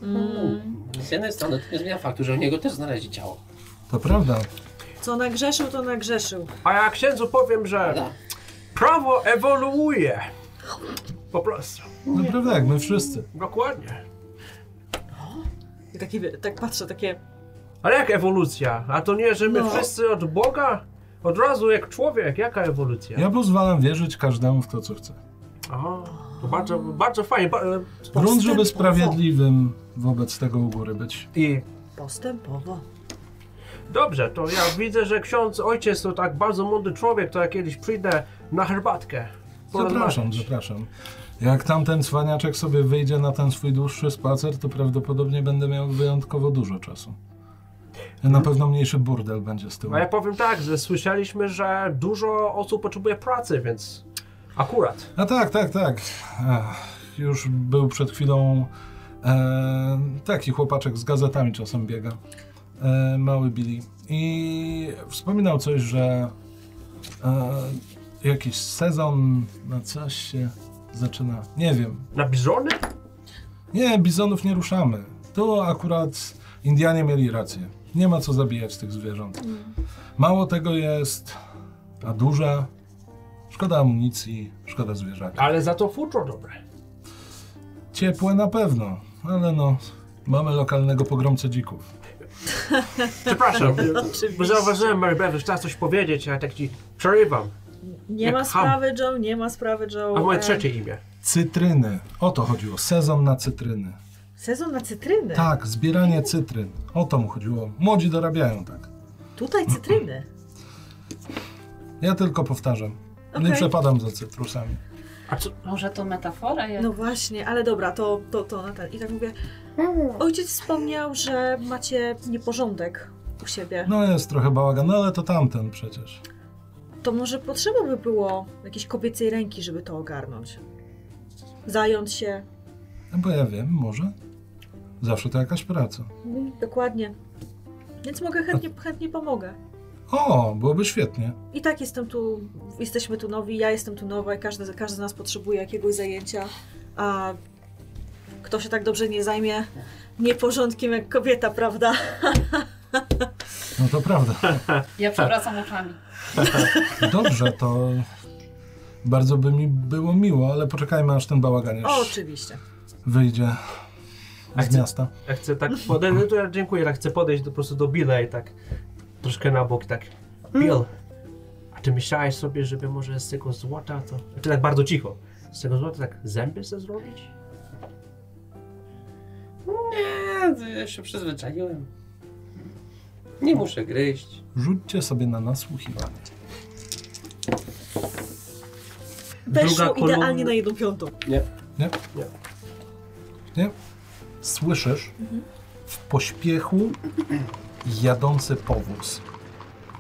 Mm. Z jednej strony to nie zmienia faktu, że u niego też znaleźli ciało.
To prawda.
Co nagrzeszył, to nagrzeszył.
A ja księdzu powiem, że
Prawda?
prawo ewoluuje. Po prostu.
Naprawdę, jak my wszyscy.
Dokładnie.
I takie, wie- tak patrzę, takie...
Ale jak ewolucja? A to nie, że my
No.
wszyscy od Boga? Od razu jak człowiek. Jaka ewolucja?
Ja pozwalam wierzyć każdemu w to, co chce.
Aha. To bardzo, bardzo fajnie. Ba, e,
Grunt, żeby sprawiedliwym wobec tego u góry być.
I
Postępowo.
dobrze, to ja widzę, że ksiądz ojciec to tak bardzo młody człowiek, to ja kiedyś przyjdę na herbatkę.
Zapraszam,
porozmawiać.
zapraszam. Jak tamten cwaniaczek sobie wyjdzie na ten swój dłuższy spacer, to prawdopodobnie będę miał wyjątkowo dużo czasu. Na pewno mniejszy burdel będzie z tyłu.
A No. ja powiem tak, że słyszeliśmy, że dużo osób potrzebuje pracy, więc akurat.
A tak, tak, tak. Ach, już był przed chwilą e, taki chłopaczek z gazetami czasem biega. E, mały Billy. I wspominał coś, że e, jakiś sezon na coś się zaczyna. Nie wiem.
Na bizony?
Nie, bizonów nie ruszamy. Tu akurat Indianie mieli rację. Nie ma co zabijać tych zwierząt. Mało tego jest, a duża. Szkoda amunicji, szkoda zwierzaka.
Ale za to futro dobre.
Ciepłe na pewno, ale no, mamy lokalnego pogromcę dzików.
Przepraszam, bo
Oczywiście.
zauważyłem, Mary Beth, że chciała coś powiedzieć, a ja tak ci przerywam.
Nie
Jak
ma
ham.
sprawy, Joe, nie ma sprawy, Joe. E,
A moje
Em,
trzecie imię.
Cytryny. O to chodziło, sezon na cytryny.
Sezon na cytryny.
Tak, zbieranie cytryn. O to mu chodziło. Młodzi dorabiają tak.
Tutaj cytryny.
Ja tylko powtarzam. Nie
Okej.
przepadam za cytrusami.
A co,
Może to metafora? Jak...
No właśnie, ale dobra, to, to, to na ten. I tak mówię. Ojciec wspomniał, że macie nieporządek u siebie.
No jest trochę bałagan, no ale to tamten przecież.
To może potrzeba by było jakiejś kobiecej ręki, żeby to ogarnąć. Zająć się.
No bo ja wiem, może. Zawsze to jakaś praca.
Mm, Dokładnie. Więc mogę chętnie, chętnie pomogę.
O, byłoby świetnie.
I tak jestem tu, jesteśmy tu nowi, ja jestem tu nowa i każdy, każdy z nas potrzebuje jakiegoś zajęcia, a kto się tak dobrze nie zajmie nieporządkiem jak kobieta, prawda?
No to prawda. Tak.
Ja przewracam oczami.
Dobrze, to bardzo by mi było miło, ale poczekajmy aż ten bałagan już
Oczywiście.
wyjdzie
A
z
chcę-
miasta.
ja chcę tak podejść, no to ja dziękuję, ja chcę podejść do, po prostu do Billa i tak troszkę na bok i tak, Bill, a ty myślałeś sobie, żeby może z tego złota to... Znaczy tak bardzo cicho. Z tego złota tak zęby sobie zrobić?
Nie, ja się przyzwyczaiłem. Nie muszę gryźć.
Rzućcie sobie na nasłuchiwanie.
Weszło
kolumna.
idealnie na jedną piątą.
Nie?
Nie.
Nie? Słyszysz w pośpiechu jadący powóz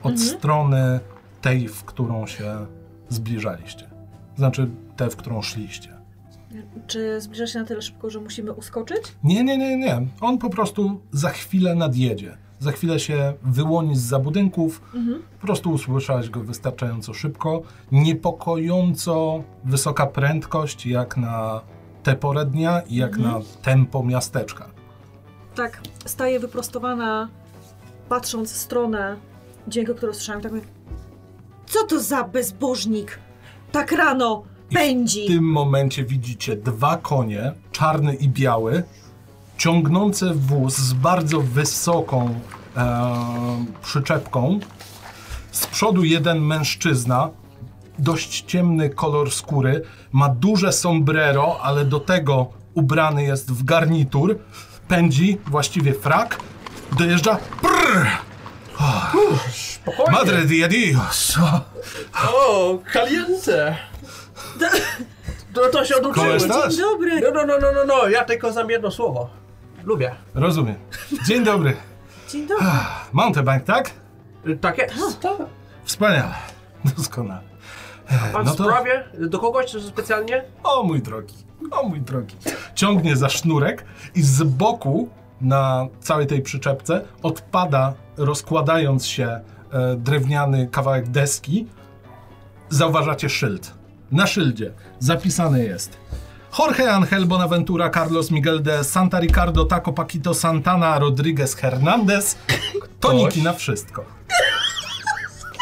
od strony tej, w którą się zbliżaliście. Znaczy, tę, w którą szliście.
Czy zbliża się na tyle szybko, że musimy uskoczyć?
Nie, nie, nie, nie. On po prostu za chwilę nadjedzie. Za chwilę się wyłoni z za budynków. Po prostu usłyszałeś go wystarczająco szybko. Niepokojąco wysoka prędkość, jak na tę porę dnia i jak na tempo miasteczka.
Tak, staję wyprostowana, patrząc w stronę dźwięku, który słyszałam, tak mówię, co to za bezbożnik? Tak rano
I w W
pędzi!
tym momencie widzicie dwa konie, czarny i biały, ciągnące wóz z bardzo wysoką e, przyczepką. Z przodu jeden mężczyzna, dość ciemny kolor skóry, ma duże sombrero, ale do tego ubrany jest w garnitur. Pędzi, właściwie frak, dojeżdża. Brrr!
Spokojnie.
Madre de Dios!
O, kaliente! No to się oduczyłem.
Koleś też?
Dzień dobry!
No, no, no, no, no, no, ja tylko znam jedno słowo. Lubię.
Rozumiem. Dzień dobry.
Dzień dobry!
Ah,
Mountebank, tak?
Y, Tak jest.
Wspaniale. Doskonale. E,
Pan
no
w
to-
sprawie? Y, Do kogoś specjalnie?
O mój drogi, o mój drogi. Ciągnie za sznurek i z boku na całej tej przyczepce odpada, rozkładając się e, drewniany kawałek deski. Zauważacie szyld. Na szyldzie zapisane jest Jorge Angel Bonaventura Carlos Miguel de Santa Ricardo Taco Paquito Santana Rodriguez Hernandez Toniki na wszystko.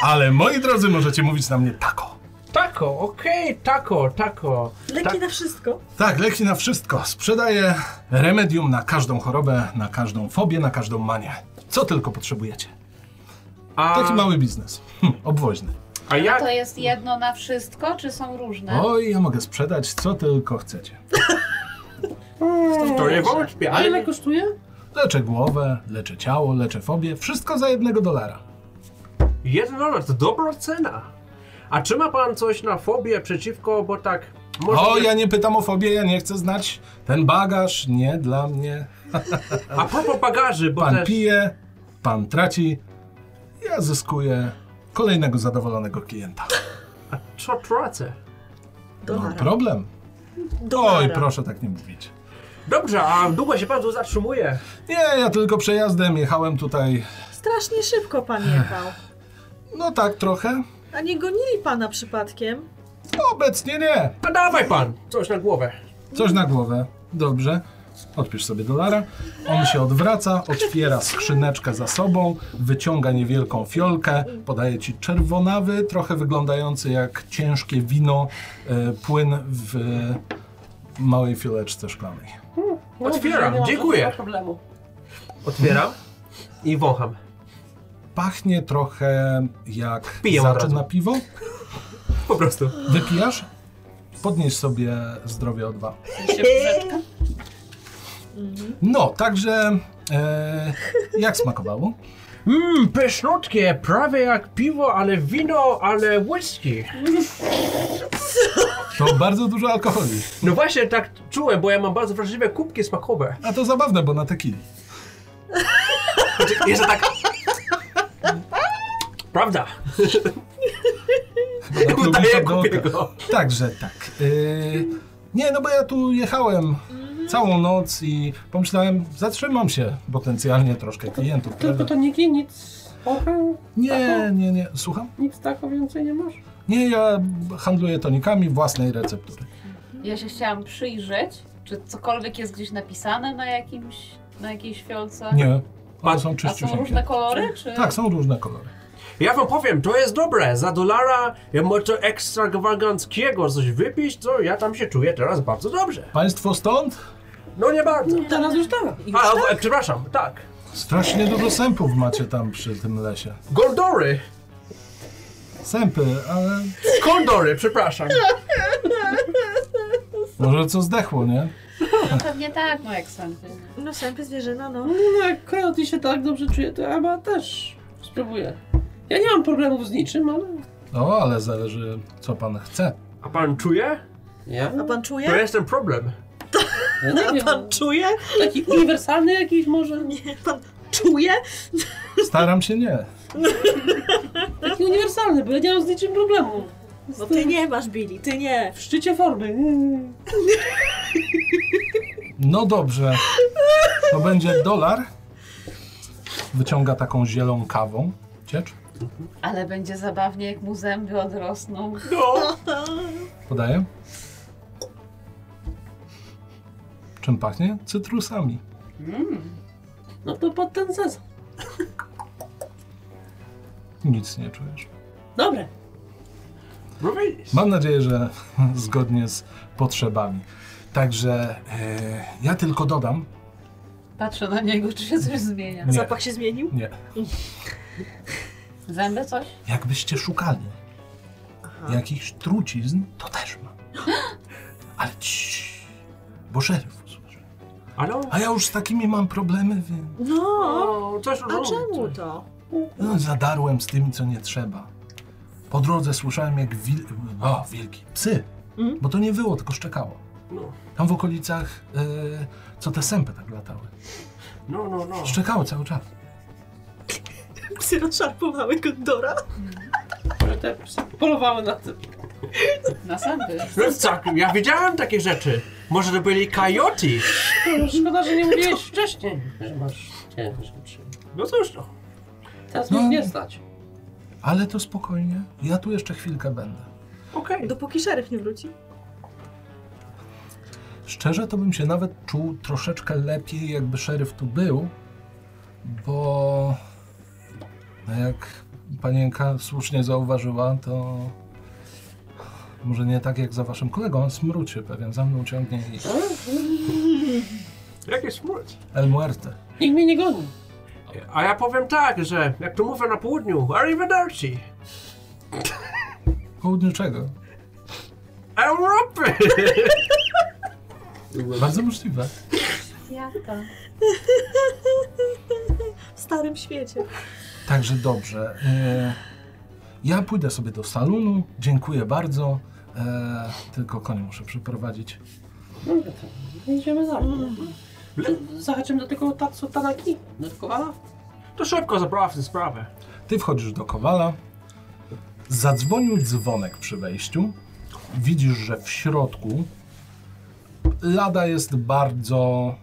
Ale moi drodzy, możecie mówić na mnie tako.
Tako, okej, tako, tako.
Leki na wszystko.
Tak, leki na wszystko. Sprzedaję remedium na każdą chorobę, na każdą fobię, na każdą manię. Co tylko potrzebujecie.
A,
Taki mały biznes. Hm, obwoźny.
A
A
jak?
to jest jedno na wszystko, czy są
Tak.
różne?
Oj, ja mogę sprzedać co tylko chcecie.
To nie wątpię,
A ile
ale...
kosztuje?
Leczę głowę, leczę ciało, leczę fobię, wszystko za jednego dolara.
Jeden dolar to dobra cena. A czy ma pan coś na fobię przeciwko, bo tak... może
O,
nie-
ja nie pytam o fobię, ja nie chcę znać. Ten bagaż nie dla mnie.
A propos bagaży, bo
Pan
też...
pije, pan traci, ja zyskuję kolejnego zadowolonego klienta.
A co tracę?
No,
Dolara.
problem. Oj,
Dolara.
proszę tak nie mówić.
Dobrze, a długo się pan tu zatrzymuje?
Nie, ja tylko przejazdem jechałem tutaj,
Strasznie szybko pan jechał.
no tak trochę.
A nie gonili pana przypadkiem?
Obecnie nie.
A dawaj pan coś na głowę.
Coś na głowę. Dobrze. Odpisz sobie dolara. On się odwraca, otwiera skrzyneczkę za sobą, wyciąga niewielką fiolkę, podaje ci czerwonawy, trochę wyglądający jak ciężkie wino, e, płyn w e, małej fioleczce szklanej.
No,
Otwieram,
nie ma
dziękuję.
żadnego problemu.
Otwieram i wącham.
Pachnie trochę jak
Piję od
zaczyn
razu.
na piwo.
Po prostu.
Wypijasz? Podnieś sobie zdrowie o dwa.
Czy się brzeczka?
No, także e, jak smakowało?
Mmm, pysznutkie, prawie jak piwo, ale wino, ale whisky.
To bardzo dużo alkoholi.
No właśnie tak czułem, bo ja mam bardzo wrażliwe kubki smakowe.
A to zabawne, bo na tequili.
Znaczy, Jeszcze tak... Prawda.
Na
Udaję
klubu Sadoka.
kupiego.
Także tak. Yy, nie, no bo ja tu jechałem
Mhm.
całą noc i pomyślałem, zatrzymam się potencjalnie troszkę klientów.
Tylko
prawda?
to nigdy nic. Ochę,
Nie, nie, nie. Słucham?
nic takiego więcej nie masz.
Nie, ja handluję tonikami własnej receptury.
Ja się chciałam przyjrzeć, czy cokolwiek jest gdzieś napisane na jakimś, na jakiejś fiolce.
Tak.
Nie,
A
one są
A są
czyściusieńkie.
różne kolory, czy...
Tak, są różne kolory.
Ja wam powiem, to jest dobre. Za dolara ja może ekstrawaganckiego coś wypić, to ja tam się czuję teraz bardzo dobrze.
Państwo stąd?
No nie bardzo.
Teraz już tak.
Już
A,
tak?
w- e, przepraszam, tak.
Strasznie dużo sępów macie tam przy tym lesie.
Gondory.
Sępy, ale
Kondory, przepraszam.
może co zdechło, nie?
No pewnie tak, no jak sądzę.
No sępy zwierzyna, no.
No no, jak Coyote się tak dobrze czuje, to ja chyba też spróbuję. Ja nie mam problemów z niczym, ale...
No, ale zależy, co pan chce.
A pan czuje?
Ja?
A
To
pan czuje?
jest ten problem.
No, ja nie
A
wiem.
pan czuje?
Taki uniwersalny jakiś może?
Nie, pan czuje?
Staram się nie.
Taki uniwersalny, bo ja nie mam z niczym problemu.
No ty nie masz, Billy, ty nie.
W szczycie formy.
No dobrze. To będzie dolar. Wyciąga taką zielonawą ciecz.
Ale będzie zabawnie, jak mu zęby odrosną.
No.
Podaję. Czym pachnie? Cytrusami.
No to pod ten zes.
Nic nie czujesz.
Dobre.
Robisz.
Mam nadzieję, że zgodnie z potrzebami. Także e, ja tylko dodam.
Patrzę na niego, czy się coś zmienia.
Nie.
Zapach się zmienił?
Nie.
Zęby coś?
Jakbyście szukali jakichś trucizn, to też ma. Ale ciii, bo szeryf usłyszy.
Ale on...
A ja już z takimi mam problemy, więc...
No.
O, coś
A czemu to?
No, zadarłem z tymi, co nie trzeba. Po drodze słyszałem, jak wil... o, wilki, psy,
Mhm.
bo to nie wyło, tylko szczekało.
No,
Tam w okolicach, e, co te sępy tak latały.
no, no. no.
Szczekały cały czas.
Psy rozszarpowały Gondora?
Może te psy polowały na tym.
Na zęby.
No tak, ja widziałem takie rzeczy. Może to byli coyote.
No, Szkoda, że nie mówiłeś wcześniej, że masz ciężkie trzy.
No cóż no.
Teraz
No.
mnie nie stać.
Ale to spokojnie, ja tu jeszcze chwilkę będę.
Okej.
Dopóki szeryf nie wróci.
Szczerze to bym się nawet czuł troszeczkę lepiej, jakby szeryf tu był, bo no jak panienka słusznie zauważyła, to może nie tak jak za waszym kolegą, on smruczy pewien, za mną ciągnie i
Jaki smród.
El Muerte.
Nikt mnie nie goni.
A ja powiem tak, że jak to mówię na południu, arrivederci.
południczego.
Europy!
Bardzo możliwe.
Jak to?
W starym świecie.
Także dobrze. e, Ja pójdę sobie do salonu. Dziękuję bardzo. E, Tylko konie muszę przeprowadzić.
No to idziemy za mną. Zahaczymy do tego Tatsu Tanaki, do Kowala.
To szybko załatw tę sprawę.
Ty wchodzisz do kowala. Zadzwonił dzwonek przy wejściu. Widzisz, że w środku lada jest bardzo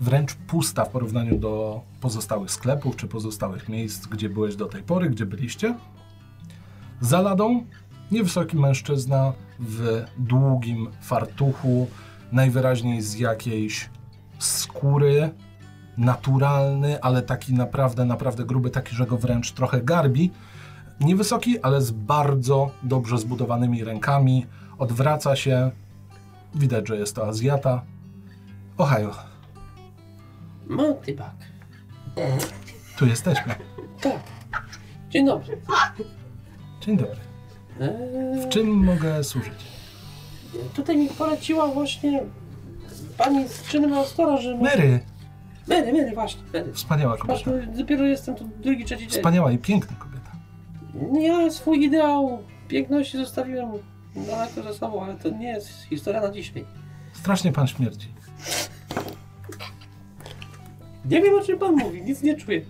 wręcz pusta w porównaniu do pozostałych sklepów czy pozostałych miejsc, gdzie byłeś do tej pory, gdzie byliście. Za ladą niewysoki mężczyzna w długim fartuchu, najwyraźniej z jakiejś skóry, naturalny, ale taki naprawdę, naprawdę gruby, taki, że go wręcz trochę garbi. Niewysoki, ale z bardzo dobrze zbudowanymi rękami. Odwraca się. Widać, że jest to Azjata. Ohio,
Mounteybug.
tu jesteśmy.
Tak. Dzień dobry.
Dzień dobry.
Eee,
W czym mogę służyć?
tutaj mi poleciła właśnie pani z czynem Astora, że...
Mary,
Mary, Mary, właśnie, Mary.
wspaniała
Patrz,
kobieta.
dopiero jestem tu drugi, trzeci dzień.
Wspaniała i piękna kobieta.
Ja swój ideał piękności zostawiłem daleko za sobą, ale to nie jest historia na dzisiaj.
Strasznie pan śmierdzi.
Nie wiem o czym pan mówi, nic nie czuję.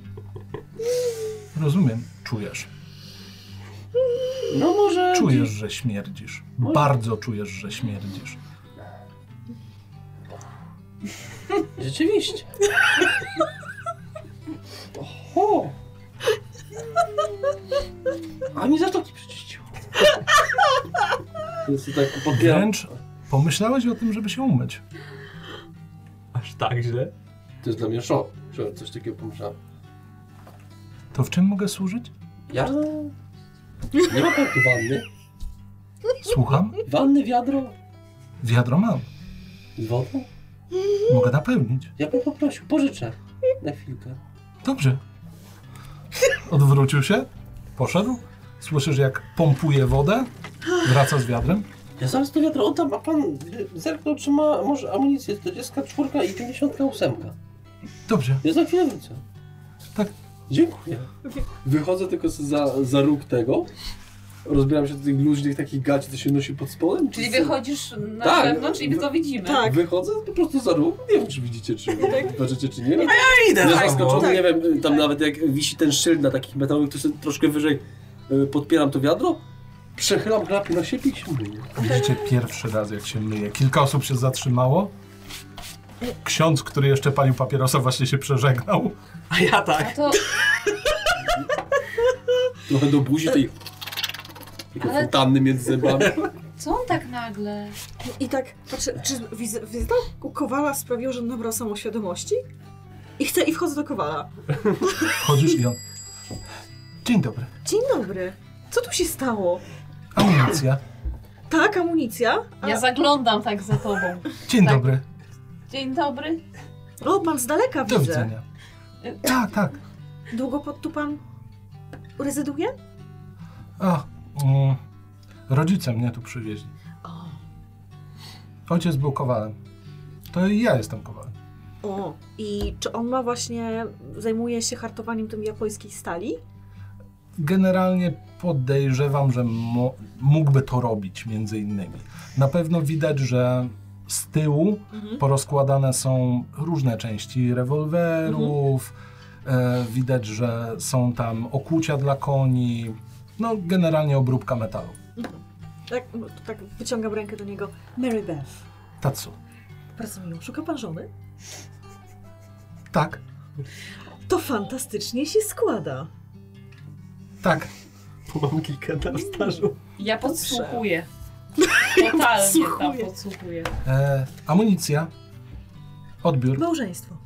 Rozumiem, czujesz.
No może...
Czujesz, że śmierdzisz. Bardzo czujesz, że śmierdzisz.
Rzeczywiście. Oho. A mi zatoki przeczyściło.
Więc to tak popieram.
Wręcz pomyślałeś o tym, żeby się umyć.
Aż tak źle?
To jest dla mnie szok, że coś takiego pomyślałem.
To w czym mogę służyć?
Ja?
Nie ma pan tu wanny?
Słucham?
Wanny, wiadro,
Wiadro mam.
z wodą?
Mogę napełnić.
Ja bym poprosił, pożyczę. Na chwilkę.
Dobrze. Odwrócił się, poszedł. Słyszysz, jak pompuje wodę, wraca z wiadrem.
Ja zaraz to wiadro oddam, a pan
e,
y, zerknął, czy ma może amunicję 44 i 58.
Dobrze,
Ja za chwilę wrócę.
Tak.
Dziękuję.
Wychodzę tylko za, za róg tego. Rozbieram się do tych luźnych takich gaci, co się nosi pod spodem.
Czyli
co?
wychodzisz na
Tak.
zewnątrz i to widzimy.
Tak.
Wychodzę po prostu za róg. Nie wiem, czy widzicie, czy patrzycie, czy nie.
Idę
Ja
za
zaskoczony,
tobą.
Tak.
nie wiem, tam nawet jak wisi ten szyld na takich metalowych, to sobie troszkę wyżej y, podpieram to wiadro, przechylam klapy na siebie i się myję.
widzicie pierwszy raz, jak się myje. Kilka osób się zatrzymało. Ksiądz, który jeszcze palił papierosa, właśnie się przeżegnał.
A ja
No
tak.
to,
Trochę do buzi tej takiej
Ale-
fontanny między zębami.
co on tak nagle?
I tak, patrzę, czy wiz- wizyta u Kowala sprawiła, że nabrał samoświadomości? I chcę, i wchodzę do Kowala.
Chodzisz i on... Dzień dobry.
Dzień dobry. Co tu się stało?
Amunicja.
Tak, amunicja? A...
Ja zaglądam tak za tobą.
Dzień
Tak.
dobry.
Dzień dobry.
O, pan z daleka
Do
widzę.
widzenia. Tak, tak.
Długo pod tu pan rezyduje?
A, mm, rodzice mnie tu przywieźli. Ojciec był kowalem. To i ja jestem kowalem.
O, i czy on ma właśnie, zajmuje się hartowaniem tym japońskiej stali?
Generalnie podejrzewam, że mo- mógłby to robić między innymi. Na pewno widać, że z tyłu porozkładane są różne części rewolwerów. E, widać, że są tam okucia dla koni. No, generalnie obróbka metalu.
Tak, no, to tak wyciągam rękę do niego. Mary Beth,
Tatsu.
bardzo miło, szuka pan żony?
Tak,
To fantastycznie się składa.
tak.
Bo mam kilka na stażu.
Ja
Dobrze.
podsłuchuję. Totalnie tam
podsłuchuję.
podsłuchuję.
E, amunicja. Odbiór.
Małżeństwo.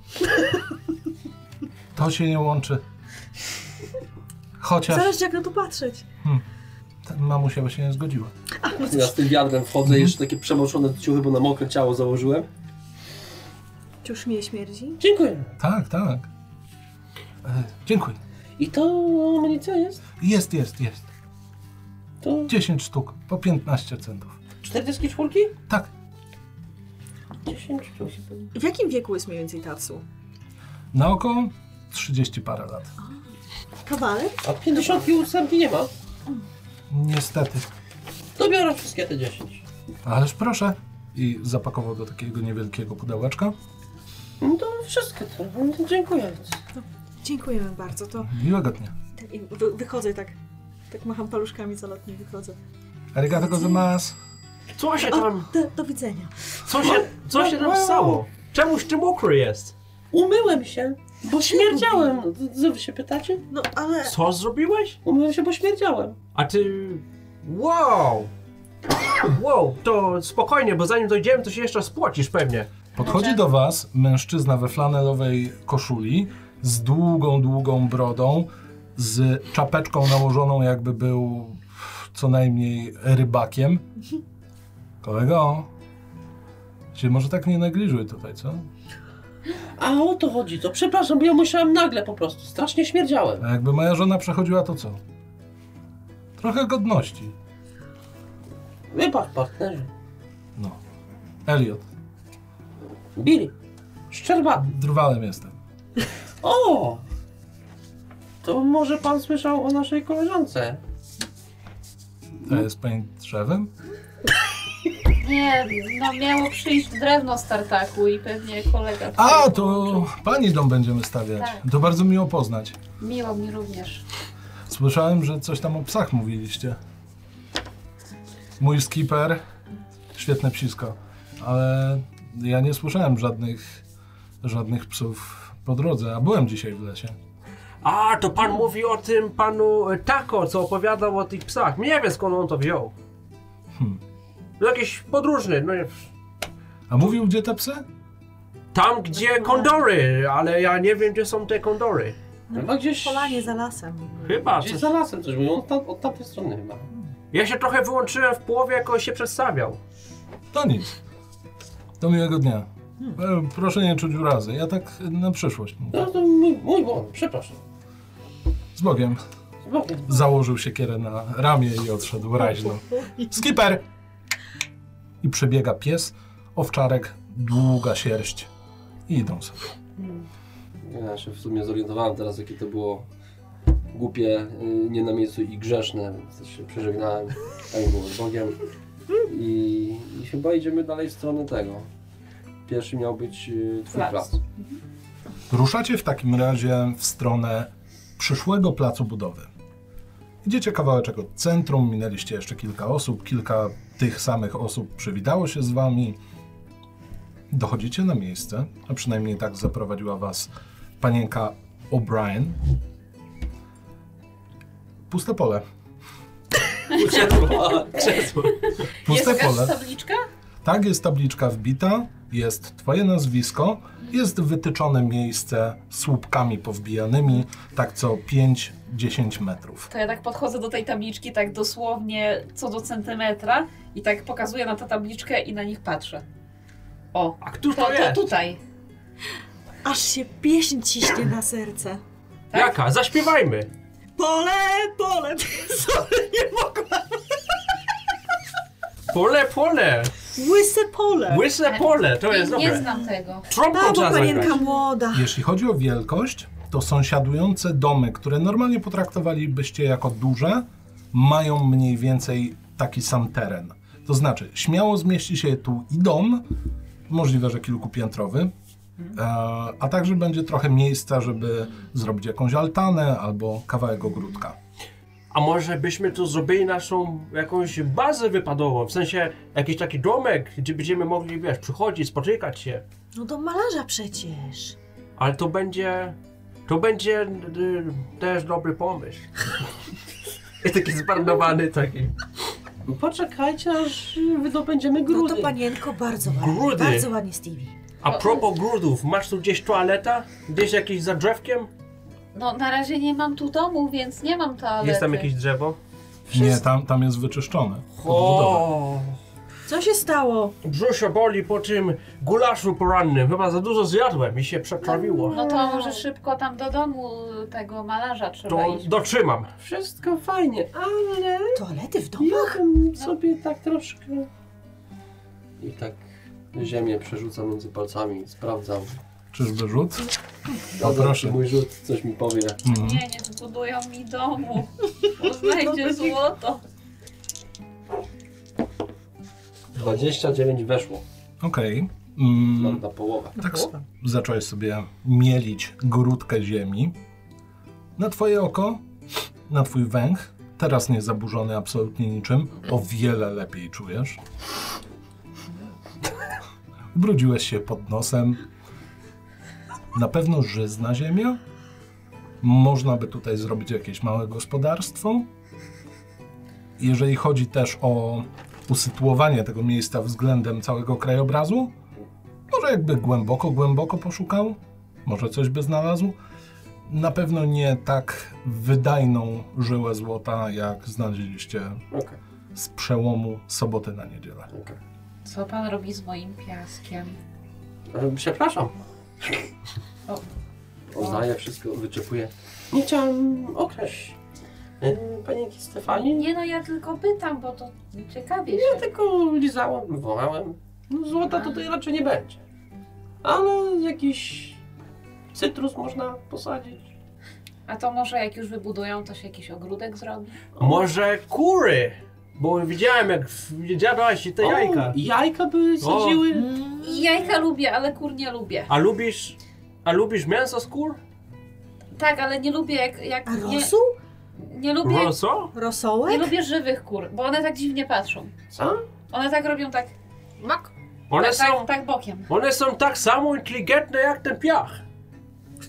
To się nie łączy. Chociaż
Zależy jak na to patrzeć.
ta mamusia by się nie zgodziła.
Ja z tym wiadrem wchodzę, jeszcze takie przemoczone ciuchy, bo na mokre ciało założyłem.
Czy już mnie śmierdzi?
Dziękuję.
Tak, tak. E, dziękuję.
I to amunicja jest?
Jest, jest, jest.
To
10 sztuk po 15 centów.
cztery dyski czwórki?
Tak,
10 sztuk.
W jakim wieku jest mniej więcej Tatsu?
na około 30 parę lat.
Kawaler?
A 58 nie ma.
Niestety.
To biorę wszystkie te 10.
Ależ proszę. I zapakował do takiego niewielkiego pudełeczka.
No to wszystkie te. No to dziękuję.
Dziękujemy bardzo. To
Miłego dnia.
tak, i wy, wychodzę tak. Tak macham paluszkami zalotnie, wychodzę.
Arigato gozaimasu.
Co się
O,
tam,
do, do widzenia.
co się, co się tam stało? Czemuś ty mokry jest?
Umyłem się, bo śmierdziałem. No to Co wy się pytacie?
No ale.
Co zrobiłeś?
Umyłem się, bo śmierdziałem.
A ty... Wow! Wow, to spokojnie, bo zanim dojdziemy, to się jeszcze spłacisz pewnie.
Podchodzi do was mężczyzna we flanelowej koszuli z długą, długą brodą, z czapeczką nałożoną, jakby był co najmniej rybakiem. Kolego, się może tak nie negliżuj tutaj, co?
A o to chodzi, to przepraszam, bo ja musiałem nagle po prostu. Strasznie śmierdziałem.
A jakby moja żona przechodziła, to co? Trochę godności.
Wybacz partnerze.
No. Elliot,
Billy. Szczerbatny.
drwalem jestem.
O! To może pan słyszał o naszej koleżance?
To jest pani drzewem?
Nie, no miało przyjść drewno z tartaku i pewnie kolega...
A, to pani dom będziemy stawiać.
Tak.
To bardzo miło poznać.
Miło mi również.
Słyszałem, że coś tam o psach mówiliście. Mój skipper, świetne psisko, ale ja nie słyszałem żadnych, żadnych psów po drodze, a byłem dzisiaj w lesie.
A, to pan mówi o tym panu e, Tako, co opowiadał o tych psach. Nie wiem skąd on to wziął.
Hmm.
Jakiś podróżny, no nie-
A mówił, gdzie te psy?
Tam, gdzie kondory, ale ja nie wiem, gdzie są te kondory.
Chyba gdzieś...
Polanie za lasem.
Chyba.
Gdzieś
Coś.
za lasem coś mówią, od, tam, od tamtej strony chyba.
Ja się trochę wyłączyłem w połowie, jak on się przedstawiał.
To nic. Do miłego dnia. E, Proszę nie czuć urazy, ja tak na przyszłość mówię.
No to mój, mój błąd, przepraszam.
Z Bogiem.
Zobaczmy.
Założył siekierę na ramię i odszedł raźno. Skipper! I przebiega pies, owczarek, długa sierść. I idą sobie.
Ja się w sumie zorientowałem teraz, jakie to było głupie, y, nie na miejscu i grzeszne, więc też się przeżegnałem tak było z Bogiem. I, I chyba idziemy dalej w stronę tego. Pierwszy miał być y, twój
Plac.
plac.
Ruszacie w takim razie w stronę przyszłego placu budowy. Idziecie kawałeczek od centrum, minęliście jeszcze kilka osób, kilka tych samych osób przywitało się z wami. Dochodzicie na miejsce, a przynajmniej tak zaprowadziła was panienka O'Brien. Puste pole.
Krzesło.
Jest
Puste
jakaś
pole.
tabliczka?
Tak, jest tabliczka wbita, jest twoje nazwisko, jest wytyczone miejsce słupkami powbijanymi, tak co 5-10 metrów.
To ja tak podchodzę do tej tabliczki tak dosłownie co do centymetra i tak pokazuję na tę tabliczkę i na nich patrzę. O,
A któż
to,
to
to
jest?
tutaj.
Aż się pieśń ciśnie na serce.
tak?
Jaka? Zaśpiewajmy.
Pole, pole! Sorry, nie mogłam!
Pole, pole.
Łyse pole!
Łyse pole. To jest
nie, nie
dobre.
znam tego.
Trąbką
A, bo
trzeba zagrać.
panienka młoda.
Jeśli chodzi o wielkość, to sąsiadujące domy, które normalnie potraktowalibyście jako duże, mają mniej więcej taki sam teren. To znaczy, śmiało zmieści się tu i dom, możliwe, że kilkupiętrowy, e, a także będzie trochę miejsca, żeby zrobić jakąś altanę albo kawałek ogródka.
A może byśmy tu zrobili naszą jakąś bazę wypadową, w sensie jakiś taki domek, gdzie będziemy mogli, wiesz, przychodzić, spotykać się.
No do malarza przecież.
Ale to będzie... To będzie y, też dobry pomysł. I taki zmarnowany taki.
Poczekajcie, aż wydobędziemy
No
grudy.
to panienko bardzo ładnie.
Grudy.
Bardzo ładnie Stevie.
A propos grudów, masz tu gdzieś toaleta? Gdzieś jakieś za drzewkiem?
No na razie nie mam tu domu, więc nie mam toalety.
Jest tam jakieś drzewo?
Nie, tam, tam jest wyczyszczone. pod budowę.
O,
Co się stało?
Brzusio boli po tym gulaszu porannym. Chyba za dużo zjadłem i się przetrawiło.
No to może szybko tam do domu tego malarza trzeba
To
iść.
dotrzymam.
Wszystko fajnie, ale
Toalety w domu?
ja bym sobie tak troszkę...
I tak ziemię przerzuca między palcami, sprawdzam.
Czyżby rzut?
A
No,
proszę.
Mój rzut coś mi powie.
Mhm.
Nie, nie zbudują mi domu. Bo znajdzie złoto.
29 weszło,
Okej.
mam
Mm,
na połowę.
tak s- zacząłeś sobie mielić grudkę ziemi. Na twoje oko, na twój węch, teraz nie zaburzony absolutnie niczym, o wiele lepiej czujesz. Ubrudziłeś się pod nosem. Na pewno żyzna ziemia. Można by tutaj zrobić jakieś małe gospodarstwo. Jeżeli chodzi też o usytuowanie tego miejsca względem całego krajobrazu, może jakby głęboko, głęboko poszukał, może coś by znalazł. Na pewno nie tak wydajną żyłę złota, jak znaleźliście
Okej.
z przełomu soboty na niedzielę.
Co pan robi z moim piaskiem?
E, Przepraszam.
O.
Uznaję wszystko, wyczepuję.
Nie chciałam okraść e, panienki Stefanii.
Nie no, ja tylko pytam, bo to ciekawie
Ja
się.
tylko lizałem, wołałem. No złota to tutaj raczej nie będzie. Ale jakiś cytrus można posadzić.
A to może jak już wybudują, to się jakiś ogródek zrobi?
Może kury? Bo widziałem jak jadłaś te
O,
jajka.
Jajka by sadziły.
I jajka lubię, ale kur nie lubię.
A lubisz... A lubisz mięso z kur?
Tak, ale nie lubię jak... jak
A
nie,
rosół?
nie lubię...
Roso?
Nie
Rosołek?
lubię żywych kur, bo one tak dziwnie patrzą.
Co?
One tak robią tak... Mak.
One
tak,
są...
tak, tak bokiem.
One są tak samo inteligentne jak ten piach.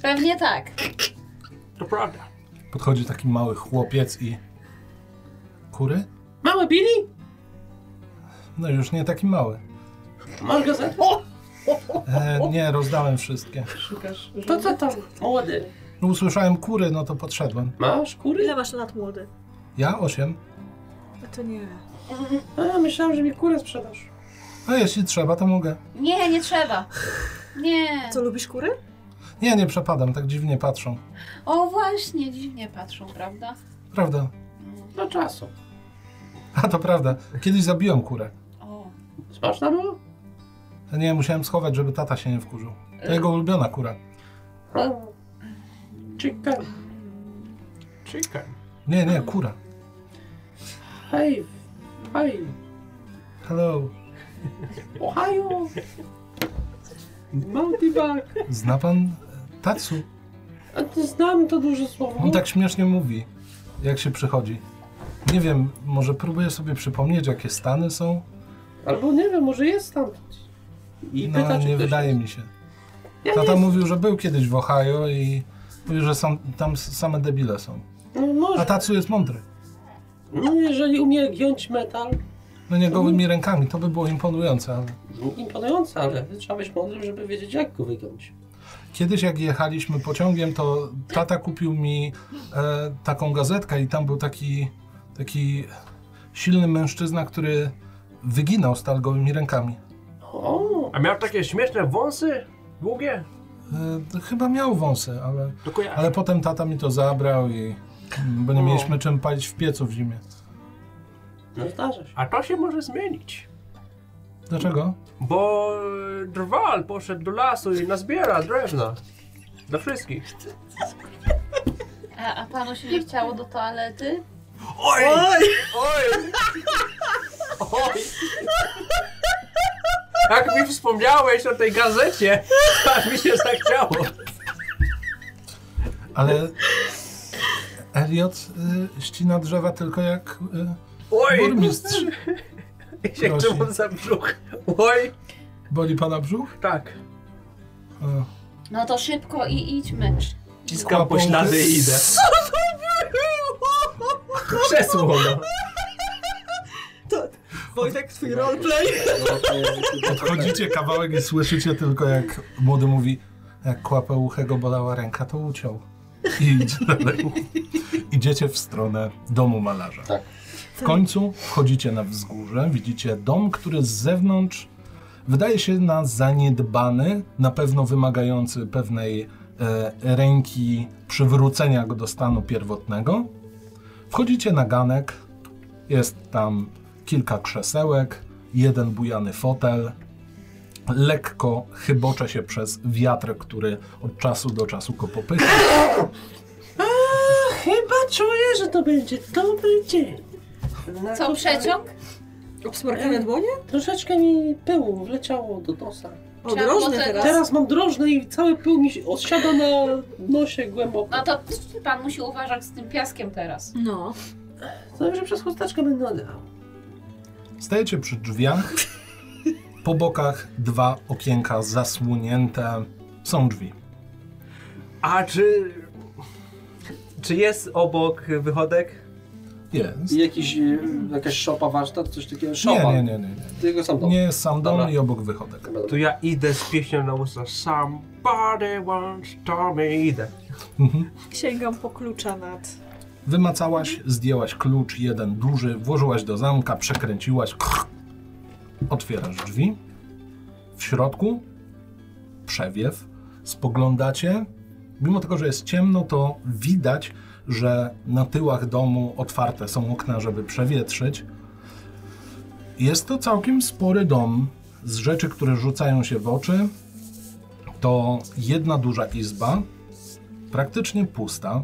Pewnie tak.
To prawda.
Podchodzi taki mały chłopiec i. Kury?
Małe Billy?
No już nie taki mały.
Masz gazetę? O!
E, nie, rozdałem wszystkie.
To co tam? Młody.
Usłyszałem kury, no to podszedłem.
Masz kury?
Ile masz lat młody?
Ja? Osiem.
A to nie.
A, myślałem, że mi kurę sprzedasz.
A jeśli trzeba, to mogę.
Nie, nie trzeba. Nie.
Co, lubisz kury?
Nie, nie przepadam, tak dziwnie patrzą.
O właśnie, dziwnie patrzą, prawda?
Prawda.
Do czasu.
A to prawda. Kiedyś zabiłem kurę.
O.
Smaczna była?
Nie, musiałem schować, żeby tata się nie wkurzył. To jego ulubiona kura.
A, Ciekawe.
Chicken.
Nie, nie, kura.
Hej. Hej.
Hello.
Ohio. Multibag.
Zna pan e, Tatsu?
A ty znam to duże słowo.
On tak śmiesznie mówi, jak się przychodzi. Nie wiem, może próbuję sobie przypomnieć, jakie stany są?
Albo nie wiem, może jest tam. I
No,
pyta, czy
nie
ktoś
wydaje
jest.
mi się.
Ja nie
Tata mówił, że był kiedyś w Ohio i mówił, że są, tam s- same debile są.
No
A
może.
Tatsu jest mądry.
No jeżeli umie giąć metal,
No nie gołymi rękami, to by było imponujące, ale...
imponujące, ale trzeba być mądrym, żeby wiedzieć jak go wygiąć.
Kiedyś jak jechaliśmy pociągiem, to tata kupił mi e, taką gazetkę i tam był taki, taki silny mężczyzna, który wyginał stal gołymi rękami.
O,
A miał takie śmieszne wąsy? Długie?
E, to chyba miał wąsy, ale,
To kojarzę.
ale potem tata mi to zabrał i bo nie mieliśmy czym palić w piecu w zimie.
no zdarza się.
A to się może zmienić.
Dlaczego?
Bo e, drwal poszedł do lasu i nazbiera drewna. Dla wszystkich.
A, a panu się nie chciało do toalety?
Oj! Oj! Oj! Jak mi wspomniałeś o tej gazecie, tak mi się zachciało.
Ale Elliot y, ścina drzewa tylko jak y,
Oj!
burmistrz.
I się trzymam za brzuch. Oj!
Boli pana brzuch?
Tak.
O.
No to szybko i idźmy.
Ciskam po ślady i idę. Co to było? Krzesło no.
To... Wojtek, twój roleplay.
Odchodzicie kawałek i słyszycie tylko jak młody mówi, jak kłapę uchego bolała ręka, to uciął. I idzie dalej. Idziecie w stronę domu malarza.
Tak.
W końcu wchodzicie na wzgórze, widzicie dom, który z zewnątrz wydaje się na zaniedbany, na pewno wymagający pewnej e, ręki przywrócenia go do stanu pierwotnego. Wchodzicie na ganek, jest tam kilka krzesełek, jeden bujany fotel. Lekko chybocze się przez wiatr, który od czasu do czasu go popycha.
Chyba czuję, że to będzie dobry dzień. Na
Co,
to-
przeciąg?
Obsmarkane dłonie?
Troszeczkę mi pyłu wleciało do nosa.
O,
Trzeba
drożne
było tego-
teraz.
Teraz mam drożne i cały pył mi się odsiada na nosie głęboko.
No to pan musi uważać z tym piaskiem teraz.
No.
To już przez chusteczkę będę oddychał.
Stajecie przy drzwiach. Po bokach dwa okienka zasłonięte. Są drzwi.
A czy... Czy jest obok wychodek?
Jest.
I jakiś, y, jakaś szopa, warsztat, coś takiego.
Nie,
Szopa.
nie, nie, nie. nie.
Tylko sam dom.
Nie jest sam dom
Dobra.
i obok wychodek.
Dobra.
To ja idę z pieśnią na usta. Somebody wants to me. Idę.
Mhm.
Sięgam po klucza nad.
Wymacałaś, zdjęłaś klucz, jeden duży, włożyłaś do zamka, przekręciłaś. Krr. Otwierasz drzwi. W środku przewiew. Spoglądacie. Mimo tego, że jest ciemno, to widać, że na tyłach domu otwarte są okna, żeby przewietrzyć. Jest to całkiem spory dom. Z rzeczy, które rzucają się w oczy, to jedna duża izba, praktycznie pusta,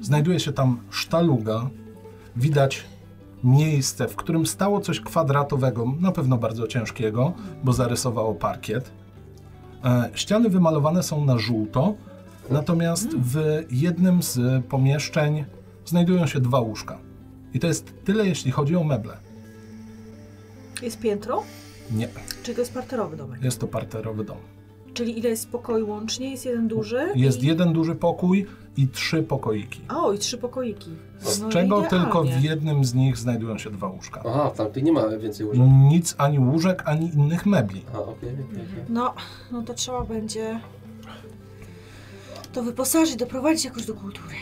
Znajduje się tam sztaluga. Widać miejsce, w którym stało coś kwadratowego, na pewno bardzo ciężkiego, bo zarysowało parkiet. E, ściany wymalowane są na żółto, natomiast w jednym z pomieszczeń znajdują się dwa łóżka. I to jest tyle, jeśli chodzi o meble.
Jest piętro?
Nie,
Czy to jest parterowy domek?
jest to parterowy dom.
Czyli ile jest pokoi łącznie? Jest jeden duży?
Jest
i...
jeden duży pokój i trzy pokoiki.
O, i trzy pokoiki.
Z
No,
czego
idealnie.
tylko w jednym z nich znajdują się dwa łóżka.
Aha, tam ty nie ma więcej
No.
łóżek.
Nic ani łóżek, ani innych mebli.
Aha, okej, okej, okej.
No, no to trzeba będzie to wyposażyć, doprowadzić jakoś do kultury.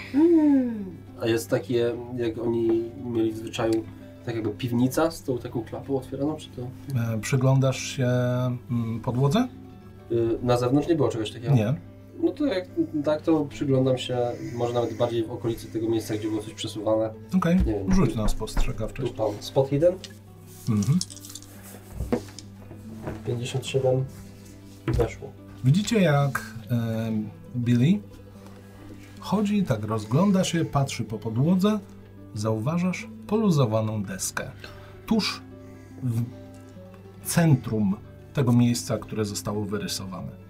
A jest takie, jak oni mieli w zwyczaju, tak jakby piwnica z tą taką klapą otwieraną, czy to...
E, Przyglądasz się mm, podłodze?
Y, na zewnątrz nie było czegoś takiego?
Nie.
No to jak tak, to przyglądam się, może nawet bardziej w okolicy tego miejsca, gdzie było coś przesuwane.
Okej,
Nie wiem.
rzuć na
Tu
spostrzegawczość.
tam spot hidden,
Mhm.
57, weszło.
Widzicie jak em, Billy chodzi, tak rozgląda się, patrzy po podłodze, zauważasz poluzowaną deskę. Tuż w centrum tego miejsca, które zostało wyrysowane.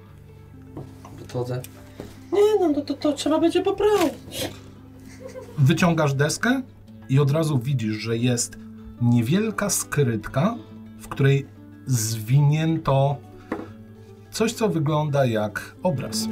Podchodzę.
Nie no, to, to, to trzeba będzie poprawić.
Wyciągasz deskę i od razu widzisz, że jest niewielka skrytka, w której zwinięto coś, co wygląda jak obraz.